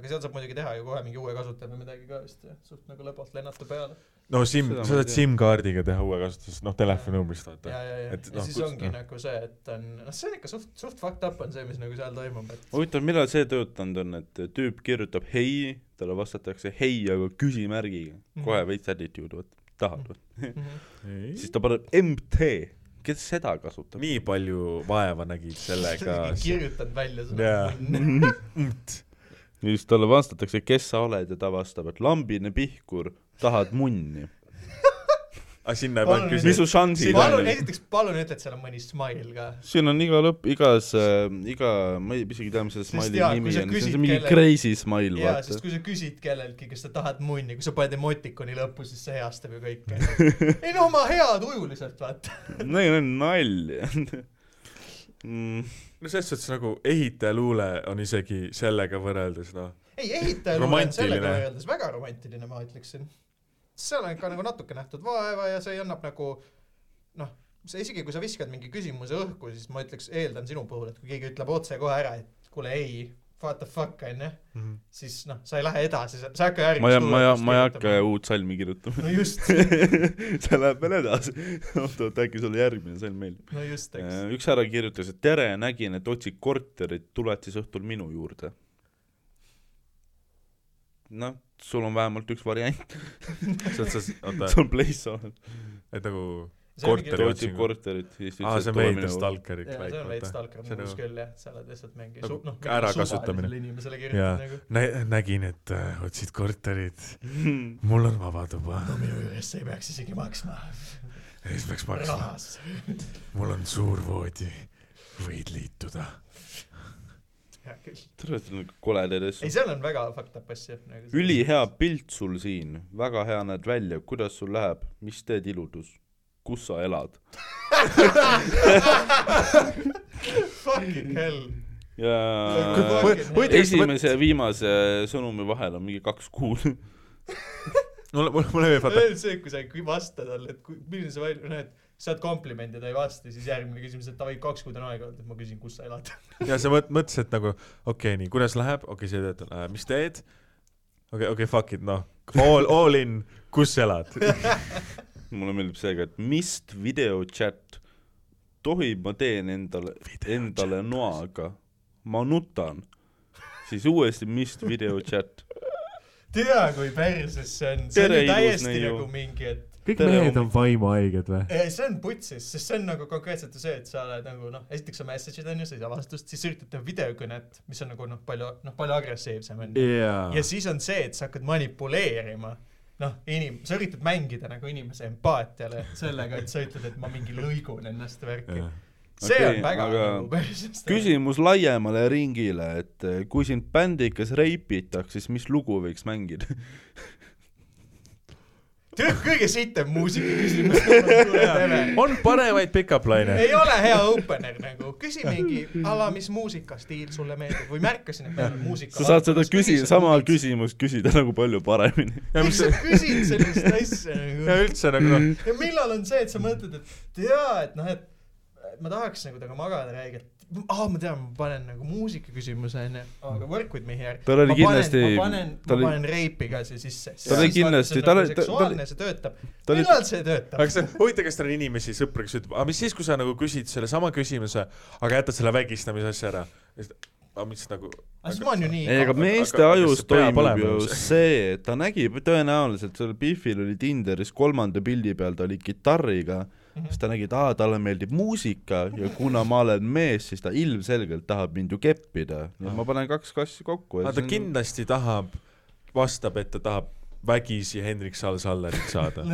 aga seal saab muidugi teha ju kohe mingi uue kasutaja või midagi ka vist , suht nagu lõbalt lennata peale .
no SIM ,
Seda
sa
ma ei
saad
tea.
SIM-kaardiga teha uue kasutuse , noh telefoninumbrist
ja ,
vaata .
ja , ja ,
et
ja
noh,
siis
kus-
ongi
noh.
nagu see , et on , noh , see on ikka suht , suht fucked up on see , mis nagu seal toimub , et
huvitav , millal see töötanud on , et tüüp kirjutab hei , talle vastatakse hei , aga küsimärgiga . kohe veits attitude , vot , tahad või ?
mhm.
siis ta paneb MT kes seda kasutab ?
nii palju vaeva nägid sellega .
kirjutanud välja
Jaa.
seda .
ja siis talle vastatakse , kes sa oled ja ta vastab , et lambine pihkur , tahad munni .
aga sinna ei pannud
Palun
mis
küsima
su . šansid
palun ,
on ?
esiteks palun ütle , et seal on mõni smile ka .
siin on iga lõpp , igas äh, , iga , ma ei isegi tea , mis selle
Sest
smiley
jaa, kui
nimi
sa
on , see
küsid
on mingi
kellel-
crazy smile ,
jaa , sest
vaata .
kui sa küsid kelleltki , kas sa tahad munni , kui sa paned emotikoni lõppu , siis see heastab ju kõike . ei no ma heatujuliselt vaata .
Neil on nalja mm, .
no selles suhtes nagu ehitajaluule on isegi sellega võrreldes noh ,
ei , ehitaja luule on sellega
Romantiline.
võrreldes väga romantiline , ma ütleksin . seal on ikka nagu natuke nähtud vaeva ja see annab nagu noh , see isegi kui sa viskad mingi küsimuse õhku , siis ma ütleks , eeldan sinu puhul , et kui keegi ütleb otsekohe ära , et kuule ei , what the fuck onju ,
Mhm.
siis noh , sa ei lähe edasi , sa sa ei hakka
ma ei ,
järgmist
ma ei , ma ei hakka . uut salmi kirjutama .
no just ,
see läheb veel edasi . oot-oot , äkki sulle järgmine salm meeldib .
no just , eks .
üks härra kirjutas , et tere , nägin , et otsid korterit , tuled siis õhtul minu juurde . noh , sul on vähemalt üks variant ,
selles suhtes , oota ,
sul on place on .
et nagu ,
See on mingi-
Korteri
ta
Tere
otsib
otsingu.
korterit ja siis nagu. ta
aa ,
ütles ,
see on
et tule
veidi
minu juurde .
stalker'i
jaa , see on veits
klaik ,
stalker
See on
mõnus
nagu-
küll jah , sa oled lihtsalt mingi
Nagu
su- noh ,
ärakasutamine.
inimesele
Jaa.
kirjutad nagu
vaata . nägin , et äh, otsid korterit ,
Mhm.
mul on vaba tuba ,
no minu juures sa ei peaks isegi maksma
siis peaks maksma ,
rahas .
mul on suur voodi , võid liituda .
hea küll .
tere , see on nagu kole tedes
ei ,. seal on väga fucked up asju nagu .
ülihea pilt sul siin , väga hea näed välja , kuidas sul läheb , mis teed iludus , kus sa elad ?
Fucking hell .
Äh,
ja
Kui- kui-
esimese ja viimase sõnumi vahel on mingi kaks kuud .
mulle , mulle , mulle meeldib vaata ,
veel see , kui sa ei vasta talle , et kui , milline sa välja , noh , et saad komplimendi ja ta ei vasta , siis järgmine küsimus , et davai , kaks kuud on aega olnud , et ma küsin , kus sa elad .
ja sa mõt- , mõtlesid et nagu okei okay, , nii , kuidas läheb , okei okay, , sa ei tööta äh, , mis teed ? okei okay, , okei okay, , fuck it , noh , all , all in , kus sa elad ?
mulle meeldib see ka , et mist video chat tohib , ma teen endale , endale noaga , ma nutan . siis uuesti mist video chat .
tea , kui perses see on . see on
Tere,
ju
ilus
täiesti
neiu.
nagu mingi , et
kõik
Tere,
mehed
hommik-
on vaimuhaiged või ?
Ei, see on putsis , sest see on nagu konkreetselt ju see , et sa oled nagu noh , esiteks sa message'id onju , sa ei saa vastust , siis sa üritad teha videokõnet , mis on nagu noh , palju noh , palju agressiivsem onju .
jaa
ja . siis on see , et sa hakkad manipuleerima , noh , inim- , sa üritad mängida nagu inimese empaatiale sellega , et sa ütled , et ma mingi lõigun ennast värki . see
Okei,
okay, on väga
aga
aga... nagu päris .
küsimus laiemale ringile , et eh, kui sind bändikas reipitakse , siis mis lugu võiks mängida ?
tead , kõige sitem muusikaküsimus .
on paremaid pickup laine ?
ei ole hea opener nagu , küsi mingi ala , mis muusikastiil sulle meeldib või märkasin , et meil on muusika .
sa saad seda küsi- , sama küsimust küsida nagu palju paremini .
ja mis
miks sa , küsid sellist asja
ja
nagu ?
üldse nagu noh ,
ja millal on see , et sa mõtled , et jaa , et noh , et ma tahaks nagu temaga magada räigelt . aa , ma tean , ma panen nagu muusikaküsimuse onju , aga work with me here .
Tal
ma
oli
panen-
kindlasti-
ma panen ,
tal
ma
oli-
panen reipi ka siia sisse .
Tal oli kindlasti- tal oli- ta- ta-
nagu seksuaalne , see töötab .
ta oli-
millal see töötab
aga ? see , huvitav , kas teil on inimesi , sõpru , kes ütleb , aga mis siis , kui sa nagu küsid sellesama küsimuse , aga jätad selle vägistamise asja ära ? aga mis nagu ,
aga siis ma olen ju nii
ei , aga
aga-
meeste
aga- aga
ajus
kas see peab
toimub
olema
ju
üldse?
see , et ta nägi tõenäoliselt , sellel Biffil oli Tinderis kolmanda pildi peal , ta oli kitarriga ,
Mhm.
siis ta nägi , et aa , talle meeldib muusika ja kuna ma olen mees , siis ta ilmselgelt tahab mind ju keppida . nii et ma panen kaks kassi kokku ja
aga ta kindlasti tahab , vastab , et ta tahab vägisi Hendrik Sal-Salleriks saada .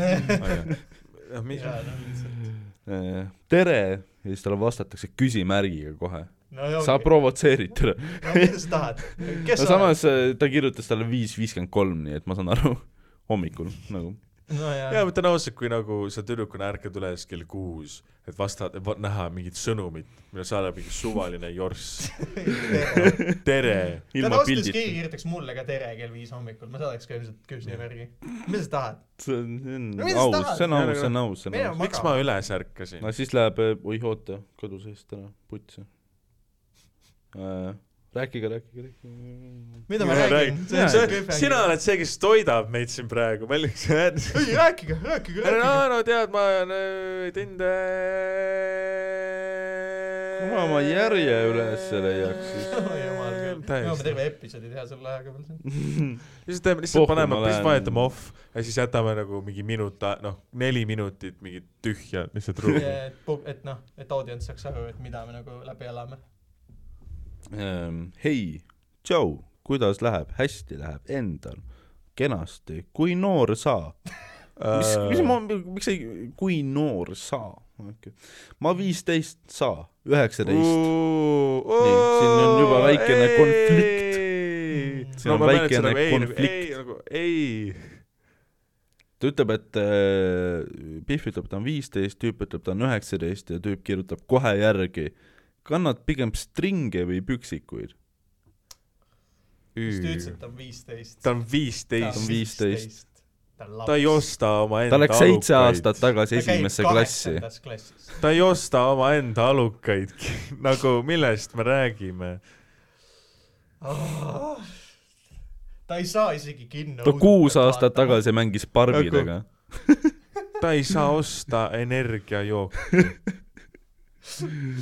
Ah, Noh,
Jaa, no lihtsalt.
Eh, tere ja siis talle vastatakse küsimärgiga kohe .
no ja
sa
ongi.
provotseerid teda .
no mida sa tahad ? kes
no
sa oled ?
samas eh, ta kirjutas talle viis viiskümmend kolm , nii et ma saan aru hommikul nagu .
no
ja
jaa ,
ma ütlen ausalt , kui nagu sa tüdrukuna ärkad üles kell kuus , et vasta , näha mingit sõnumit , mille sa oled mingi suvaline jorss . tere ,
ilma
ausalt öeldes
pildita .
keegi kirjutaks mulle ka tere kell viis hommikul , ma saadaks ka ilmselt küsimärgi . mis sa tahad ?
see on see on
No mis sa
aus
tahad? ,
see on
Mine
aus , see on
nagu-
aus , see on
mine
aus .
miks ma üles ärkasin ?
no siis läheb , oih oota , kadus eest ära , putsi äh, . rääkige , rääkige , rääkige .
mida ma
Mina
räägin ?
Sa- sina . oled see , kes toidab meid siin praegu , ma lihtsalt .
ei rääkige , rääkige ,
no
rääkige .
no tead , ma olen äh,
ma oma järje ülesse leiaks siis.
Oh, jumal küll , me peame
täiesti .
terve episoodi teha selle ajaga veel siin .
siis teeme lihtsalt
Puhkama
paneme ,
lähen.
siis vajutame off ja siis jätame nagu mingi minut , noh , neli minutit mingit tühja lihtsalt ruumi .
et , et noh , et audients saaks aru , et mida me nagu läbi elame .
Ähm, hei , tšau , kuidas läheb , hästi läheb endal , kenasti , kui noor sa ? mis ,
Äh.
Äh,
mis ma , miks ei , kui noor sa ? ma viisteist sa , üheksateist . Nii, siin on juba väikene konflikt.
Mm.
Siin on väikene konflikt.
ei , nagu ei .
ta ütleb , et äh, Pihv ütleb , ta on viisteist , tüüp ütleb , ta on üheksateist ja tüüp kirjutab kohe järgi . kannad pigem stringe või püksikuid ?
siis ta ütles , et ta on viisteist .
ta on viisteist ,
15. .
ta on
ta ei
laps .
osta omaenda
ta läks seitse
alukaid.
aastat tagasi esimesse klassi .
klassis .
ta ei osta omaenda alukaid , nagu millest me räägime .
Ah. ta ei saa isegi kinno .
ta kuus aastat . tagasi mängis Barbidega .
ta ei saa osta energiajook- .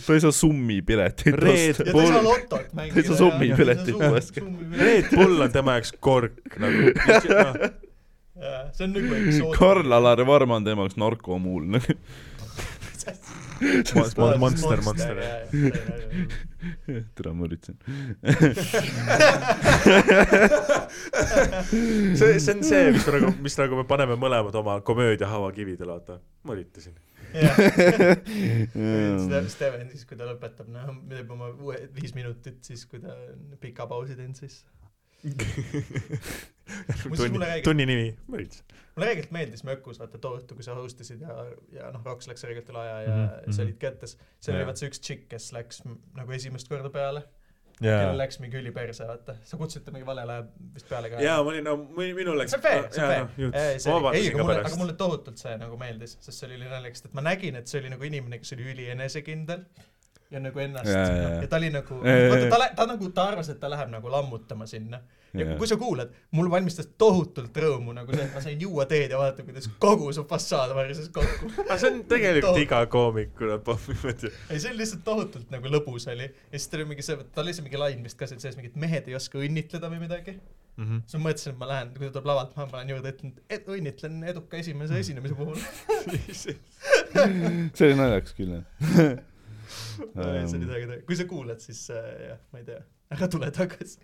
ta ei saa summi piletit
Red
osta .
ja ta ei saa
Bull ,
lotot mängida .
saa summi piletit osta.
Red Bull on tema jaoks kork nagu .
see on nagu eksoot .
Karl-Alar Varma on tema jaoks narkomuul .
Monster , monster, monster .
tere , ma üritasin .
see , see on see , mis nagu , mis nagu me paneme mõlemad oma komöödia havakividele , vaata . ma üritasin .
Steven siis , kui ta lõpetab , noh , teeb oma uue viis minutit , siis kui ta on pika pausi teinud , siis .
tunni
mulle , räägib-
tunni nimi . ma üritasin .
mulle reeglilt meeldis Mökus , vaata too õhtu , kui sa host isid ja , ja noh , Roks läks reeglilt üle aja ja mm
Mhm,
-hmm. sa
mhm.
olid kätes . seal
Jaa.
oli vaat see üks tšikk , kes läks m- nagu esimest korda peale , kellel
jaa ,
läks mingi üliperse , vaata . sa kutsusid ta mingi valel ajal vist peale ka .
jaa , ma olin , no mi- minul läks .
see on fair , see on fair . ei , see oli ,
vabandasin
ei , aga
ka
mulle , aga
pärast .
mulle tohutult see nagu meeldis , sest see oli nii naljakas , et ma nägin , et see oli nagu inimene , kes oli ülienesekindel ja nagu ennast
Jaa,
ja,
jaa,
ja,
jaa.
ja ta oli nagu ,
Jaa, jaa,
vaata
jaa.
ta , ta nagu , ta arvas , et ta läheb nagu lammutama sinna . ja kui sa kuulad , mul valmistas tohutult rõõmu nagu see , et ma sain juua teed ja vaadata , kuidas kogu su fassaad varises kokku .
aga Ah, see on tegelikult iga koomiku lõpuks niimoodi .
ei , see oli lihtsalt tohutult nagu lõbus oli ja siis tal oli mingi see , tal oli see mingi lain vist ka seal sees , mingi , et mehed ei oska õnnitleda või midagi .
Mhm.
siis ma mõtlesin , et ma lähen , kui ta tuleb lavalt , ma panen juurde , ütlen , et õnnitlen eduka
Mm.
esimese esinemise puhul .
see oli naljakas küll ,
Ei, see oli
jah .
täiega tore , kui sa kuulad , siis äh, jah , ma ei tea , ära tule tagasi .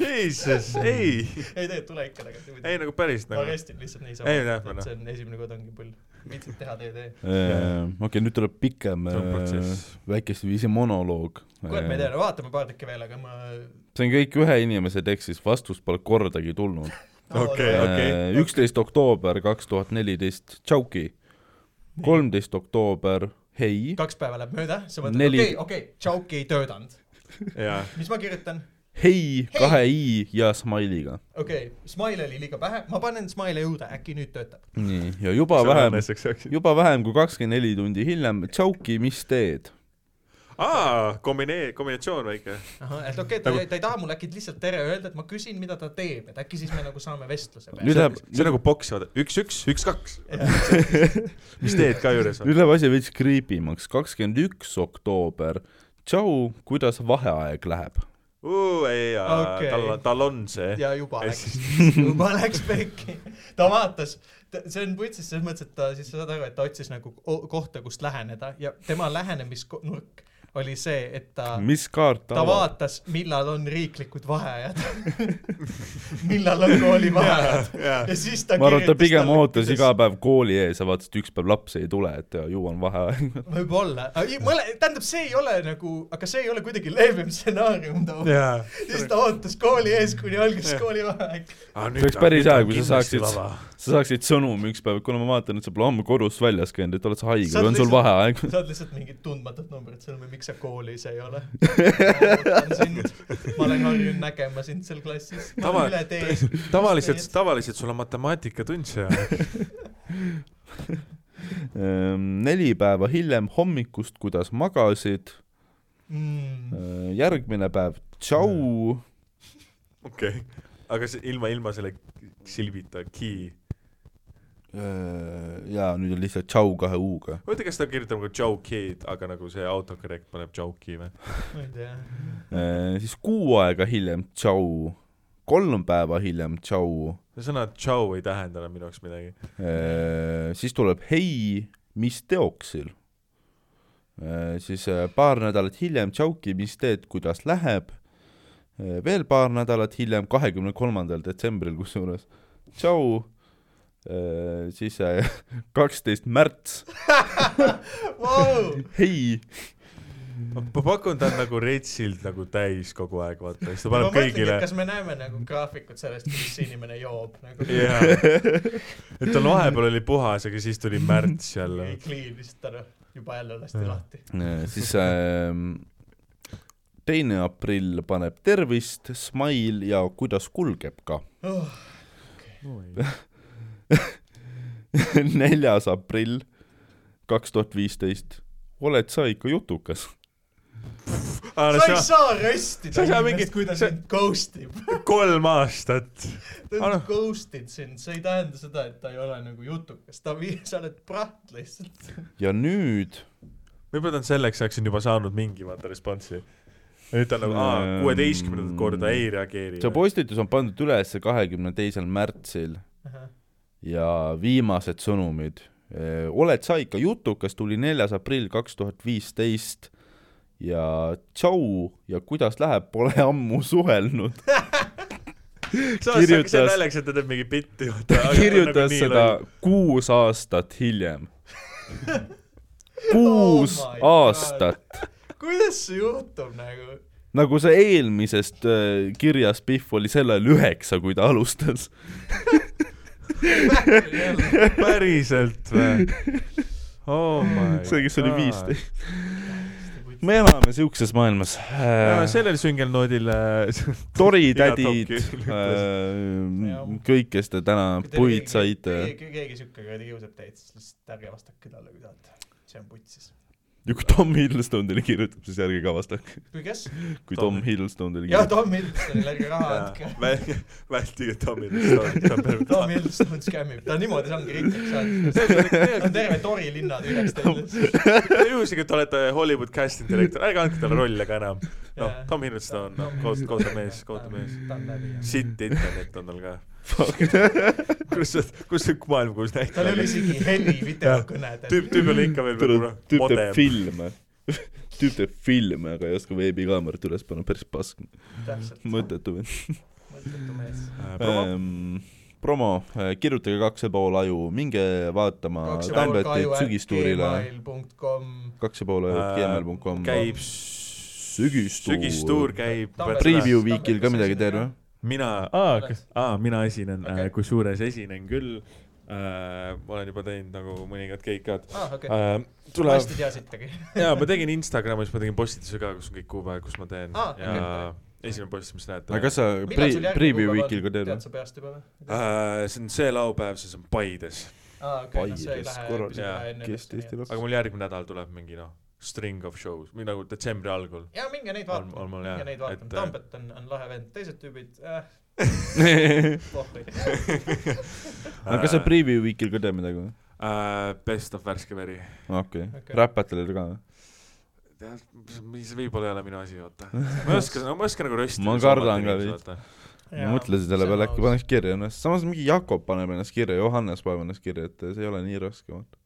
Jesus , ei ,
ei tegelikult tule ikka tagasi muidu
ei . nagu päris
ma
nagu .
arestin lihtsalt
Ei, jah, ma
niisama ,
noh.
et see on esimene kord ongi pull . viitsid teha , tee , tee .
okei , nüüd tuleb pikem äh,
See on protsess. ,
väikest viisi monoloog .
kuule , ma ei tea
see ,
vaatame paar tükki veel , aga ma .
on kõik ühe inimese tekstis , vastust pole kordagi tulnud .
Okei, okei.
üksteist oktoober kaks tuhat neliteist , tšauki . kolmteist oktoober , hei .
kaks päeva läheb mööda , sa mõtled ,
Neli-
okei , okei , Tšauki ei töötanud .
jaa ,
mis ma kirjutan ?
hei kahe i ja smile'iga .
okei okay, , Smile oli liiga vähe , ma panen Smile'i juurde , äkki nüüd töötab .
nii , ja juba vähem ,
vähem .
juba vähem kui kakskümmend neli tundi hiljem , tšauki , mis teed ?
aa , kombinee- , kombinatsioon väike .
ahah , et okei okay, , ta
Nagu-
ei , ta ei taha mulle äkki lihtsalt tere öelda , et ma küsin , mida ta teeb , et äkki siis me nagu saame vestluse
Nüüd
peale .
läheb ,
see on nagu boks , vaata , üks , üks , üks , kaks . mis teed ka juures on ?
nüüd läheb asi veits creepimaks , kakskümmend üks oktoober , tšau , kuidas vaheaeg läheb ?
ei ,
Okei.
tal , tal on see .
ja juba
Ja
läks . juba läks pekki , ta vaatas , see on putsis selles mõttes , et ta siis sa saad aru , et ta otsis nagu o- kohta , kust läheneda ja tema lähenemisnurk oli see , et ta ,
mis kaart ta
Ah. ta
avab ?
vaatas , millal on riiklikud vaheajad , millal on koolivaheajad
jaa.
ja siis ta
ma arvan , et ta
kirjutas
pigem
talle,
ootas
kuidas-
iga päev kooli ees ja vaatas , et üks päev laps ei tule , et ja, ju on vaheaeg .
võib-olla , mõle , tähendab , see ei ole nagu , aga see ei ole kuidagi leebem stsenaarium too .
jaa .
siis ta ootas kooli ees , kuni algas koolivaheaeg .
See oleks päris hea, kui sa saaksid- sa saaksid sõnumi üks päev , kuna ma vaatan , et sa pole homme kodust väljas käinud , et oled sa haige
Sa oled
või on sul
lihtsalt-
vaheaeg ?
saad lihtsalt mingit tundmatut numbrit sõnumi , miks sa koolis ei ole . ma ootan sind , ma olen harjunud nägema sind seal klassis , ma
Tava-
olen üle tee .
tavaliselt , tavaliselt sul on matemaatikatund see aeg .
Ehm, neli päeva hiljem hommikust , kuidas magasid ,
mm, .
järgmine päev , tšau ,
okei okay. . aga see ilma , ilma selle silbita , key .
Ehm, jaa , nüüd on lihtsalt tšau kahe U-ga .
huvitav , kas ta kirjutab nagu Joe Kid , aga nagu see autocorrect paneb Joki või ?
ma ei tea .
Ehm, siis kuu aega hiljem tšau , kolm päeva hiljem tšau ,
see sõna Joe ei tähenda enam minu jaoks midagi .
Äh, siis tuleb hei , mis teoksil ? siis äh, paar nädalat hiljem tšauki , mis teed , kuidas läheb ? veel paar nädalat hiljem , kahekümne kolmandal detsembril kusjuures , tšau , siis äh, kaksteist märts ,
Vau!
hei
ma pakun , ta on nagu retsilt nagu täis kogu aeg , vaata , siis ta
ma
paneb
mõtlengi ,
kõigile
et kas me näeme nagu graafikut sellest , kuidas see inimene joob nagu yeah. .
jah , et tal vahepeal oli puhas , aga siis tuli märts jälle
ei . clean lihtsalt ära , juba jälle lasti
Jah.
lahti .
Äh, siis ähm, teine aprill paneb tervist , smile ja kuidas kulgeb ka .
Oh,
neljas aprill kaks tuhat viisteist , oled sa ikka jutukas ?
sa ei saa röstida
sa ei saa
inimest ,
mingit-
kui ta
sa-
sind ghost ib .
kolm aastat .
ta
Anna.
on ghost id sind , see ei tähenda seda , et ta ei ole nagu jutukas , ta vii- , sa oled praht lihtsalt .
ja nüüd
võib-olla ta on selleks ajaks on juba saanud mingi vaata responsi . nüüd ta on nagu aa,
Ähm,
kuueteistkümnendat korda ei reageeri .
see postitus on pandud üles kahekümne teisel märtsil ja viimased sõnumid . oled sa ikka jutukas , tuli neljas aprill kaks tuhat viisteist ja tšau ja kuidas läheb , pole ammu suhelnud . kirjutas-
kirjutas . see on naljakas , et ta teeb mingi bitti . nagu
nagu
kirjutas seda . kuus aastat hiljem . kuus
Oh my God.
aastat ,
kuidas see juhtub nagu ?
nagu see eelmisest äh, kirjas Pihv oli sel ajal üheksa , kui ta alustas .
päriselt või ? Oh my
see , kes oli
god.
viisteist . me elame siukses maailmas . Äh,
Ja sellel süngel noodil äh,
toritädid
Ina , Topki
Jah.
äh, kõik , kes te täna puid saite .
keegi keegi siuke kuradi kiusab teid , siis lihtsalt ärge vastake talle , kui tahate . see on putsis .
ja kui Tom Hiddleston teile kirjutab , siis ärge ka vastake .
või kes ?
kui Tom
Tom.
Hiddleston teile
jah ,
kirjutab .
Tom Hiddlestonile ärge raha andke .
Väl- vältige Tommy Wiseau .
Tom Hiddleston skämmib , ta niimoodi saabki rikkaks saanud . ta on terve Tori linna tühjaks teinud .
juhuslikult te olete Hollywood casting direktor , ärge andke talle rolle ka enam . noh , Tom Hiddleston on noh, kohutav , kohutav mees , kohutav mees .
ta on läbi jah .
sitt internet on tal ka . kus , kus see maailm , kus näitab
tal ei . ole isegi heli videokõnedel .
tüüp , tüüp oli ikka veel
tüüp
nagu
tüüp teeb
modem .
filme . tüüp teeb filme , aga ei oska veebikaamerat üles panna , päris pask ,
täpselt .
mõttetu vend
mõttetu mees .
Äh,
ähm, . promo , kirjutage kaks ja pool aju , minge vaatama Tambletit sügistuurile , kaks ja pool aju gmail.com .
Äh, käib
sügistuur.
sügistuur käib .
Preview Weekil ka midagi teed või ?
mina , aa
Oled? ,
aa , mina esinen okay.
Okei. ,
kusjuures esinen küll äh, . ma olen juba teinud nagu mõningad keikad
aa , Ah, okei .
äh, .
ma
tuleb
hästi , teadsidagi .
jaa , ma tegin Instagramis , ma tegin postituse ka , kus on kõik kuupäevad , kus ma teen
Ah,
Aa,
ja
okei.
esimene post , mis näete .
aga kas sa
millal sul
pre- , preview
järgmine
week'il ka
kuupäev on ?
teed
tead
või ?
sa peast juba või ?
äh, ? see on see laupäev , siis on Paides ,
aa , Ah, okei , no see ei
Paides
lähe
korraga. .
Jaa,
kes teist ei
aga mul järgmine nädal tuleb mingi noh , string of shows või nagu detsembri algul .
jaa , minge neid
on ,
vaatama .
on mul jah
minge , neid vaatama ,
äh,
Tambet on , on lahe vend , teised tüübid , äh ,
lase ?
pohhui .
aga kas sa preview week'il ka teed midagi või ?
äh, Best of värske veri ,
Okei.
okei okay. , räpatele ka või ?
tead , mis võib-olla ei ole minu asi , vaata . ma ei oska , ma ei oska nagu röstida .
Ma kardan ka veits. ma mõtlesin selle peale , äkki paneks kirja ennast , samas mingi Jakob paneb ennast kirja , Johannes paneb ennast kirja , et see ei ole nii raske , vaata .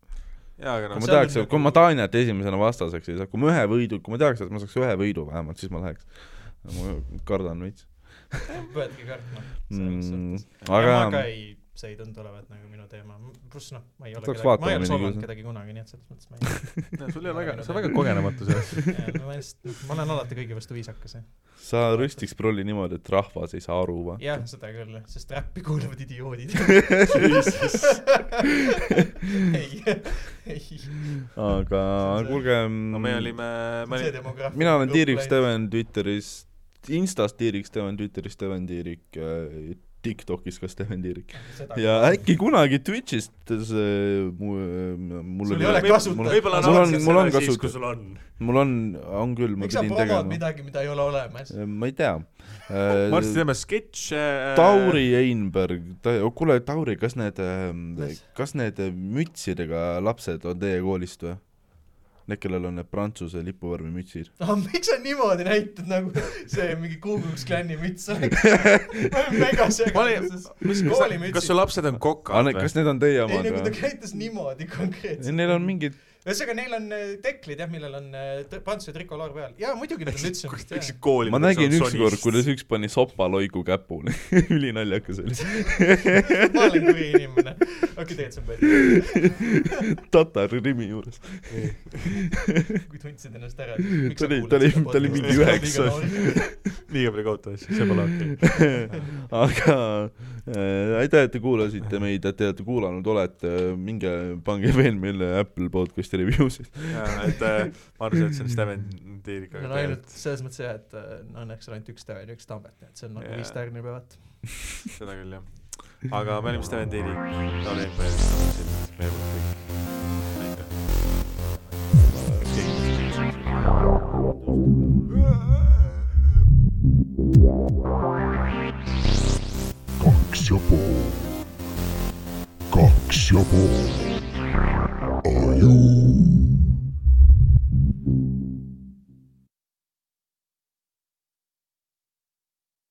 jaa , aga
kui
noh
ma
see on
teaks
nagu- ,
kui ma Tanjat esimesena vastaseks ei saa , kui ma ühe võidu , kui ma teaks , et ma saaks ühe võidu vähemalt , siis ma läheks . ma kardan veits
peadki kartma .
mm, .
aga
aga
ma ka ei , see ei tundu olevat nagu minu teema , pluss noh , ma ei ole kedagi ,
Peaks
ma ei
vaatama
ole solvanud
midagi.
kedagi kunagi , nii et selles mõttes ma ei
sul ei ole väga , sa oled väga kogenematu selles .
ja, ma lihtsalt , ma olen alati kõigi vastu viisakas jah .
sa röstiks prolli niimoodi , et rahvas ei saa aru , vaata .
jah , seda küll , sest räppi kuulavad idioodid . ei , ei .
aga
See on see-
kuulge mm,
no me olime , me
see
olime ,
demograafia .
mina olen Tiirik . Steven Twitteris , Instas Tiirik Steven Twitteris Steven Tiirik äh, Tiktokis ka Steven Tiirik .
seda .
ja äkki kunagi Twitch'ist see mu , äh, mul
Sul
oli-
ei ole kasutajat.
mul-
võib-olla
mul
nad
on , mul on
seda siis , kui
kasutus ,
sul on .
mul on , on küll , ma
miks sa
pidin
promod
tegema .
midagi , mida ei ole olemas ?
Äh, ma ei tea .
varsti teeme sketše .
Äh,
äh,
Tauri Einberg , kuule Tauri , kas need ,
Mis?
kas need äh, mütsidega lapsed on teie koolist või ? Need , kellel on need prantsuse lipuvärvi mütsid .
aga miks sa niimoodi näitad nagu see mingi Kuukuks klanni müts oleks ? ma olen mega segaduses . koolimütsid.
kas su lapsed on kokad või ?
Ah, kas need on teie
ei
omad
nagu ta
või ?
käitus niimoodi konkreetselt .
Neil on mingid ,
ühesõnaga , neil on äh, teklid jah , millel on äh, tõ- prantsuse trikoloor peal ja muidugi nad on lütsemist jah
läksid . kooli . nagu
ma nägin ükskord , kuidas üks pani sopaloigu käpule . ülinaljakas oli .
ma olen kuri inimene . okei , tegelikult see on päris ,
tatari Rimi juures .
kui tundsid ennast ära .
Ta oli- ta oli- ta oli mingi üheksa. .
liiga palju kaotada , siis see pole okei okay. .
aga äh, aitäh , et te kuulasite meid , et te olete kuulanud , olete , minge pange veel meile Apple podcast'i review sid .
et äh, ma arvasin , et see on Steven Tiiriga .
no ainult selles mõttes jah , et äh, no õnneks on ainult üks Steven ja üks Tambet , nii et see on nagu
Jaa.
viis tärni peavad .
seda küll jah . aga me olime Steven Tiirik , Tauri Ember , meie poolt kõik . aitäh .
kaks ja pool , kaks ja pool , aju .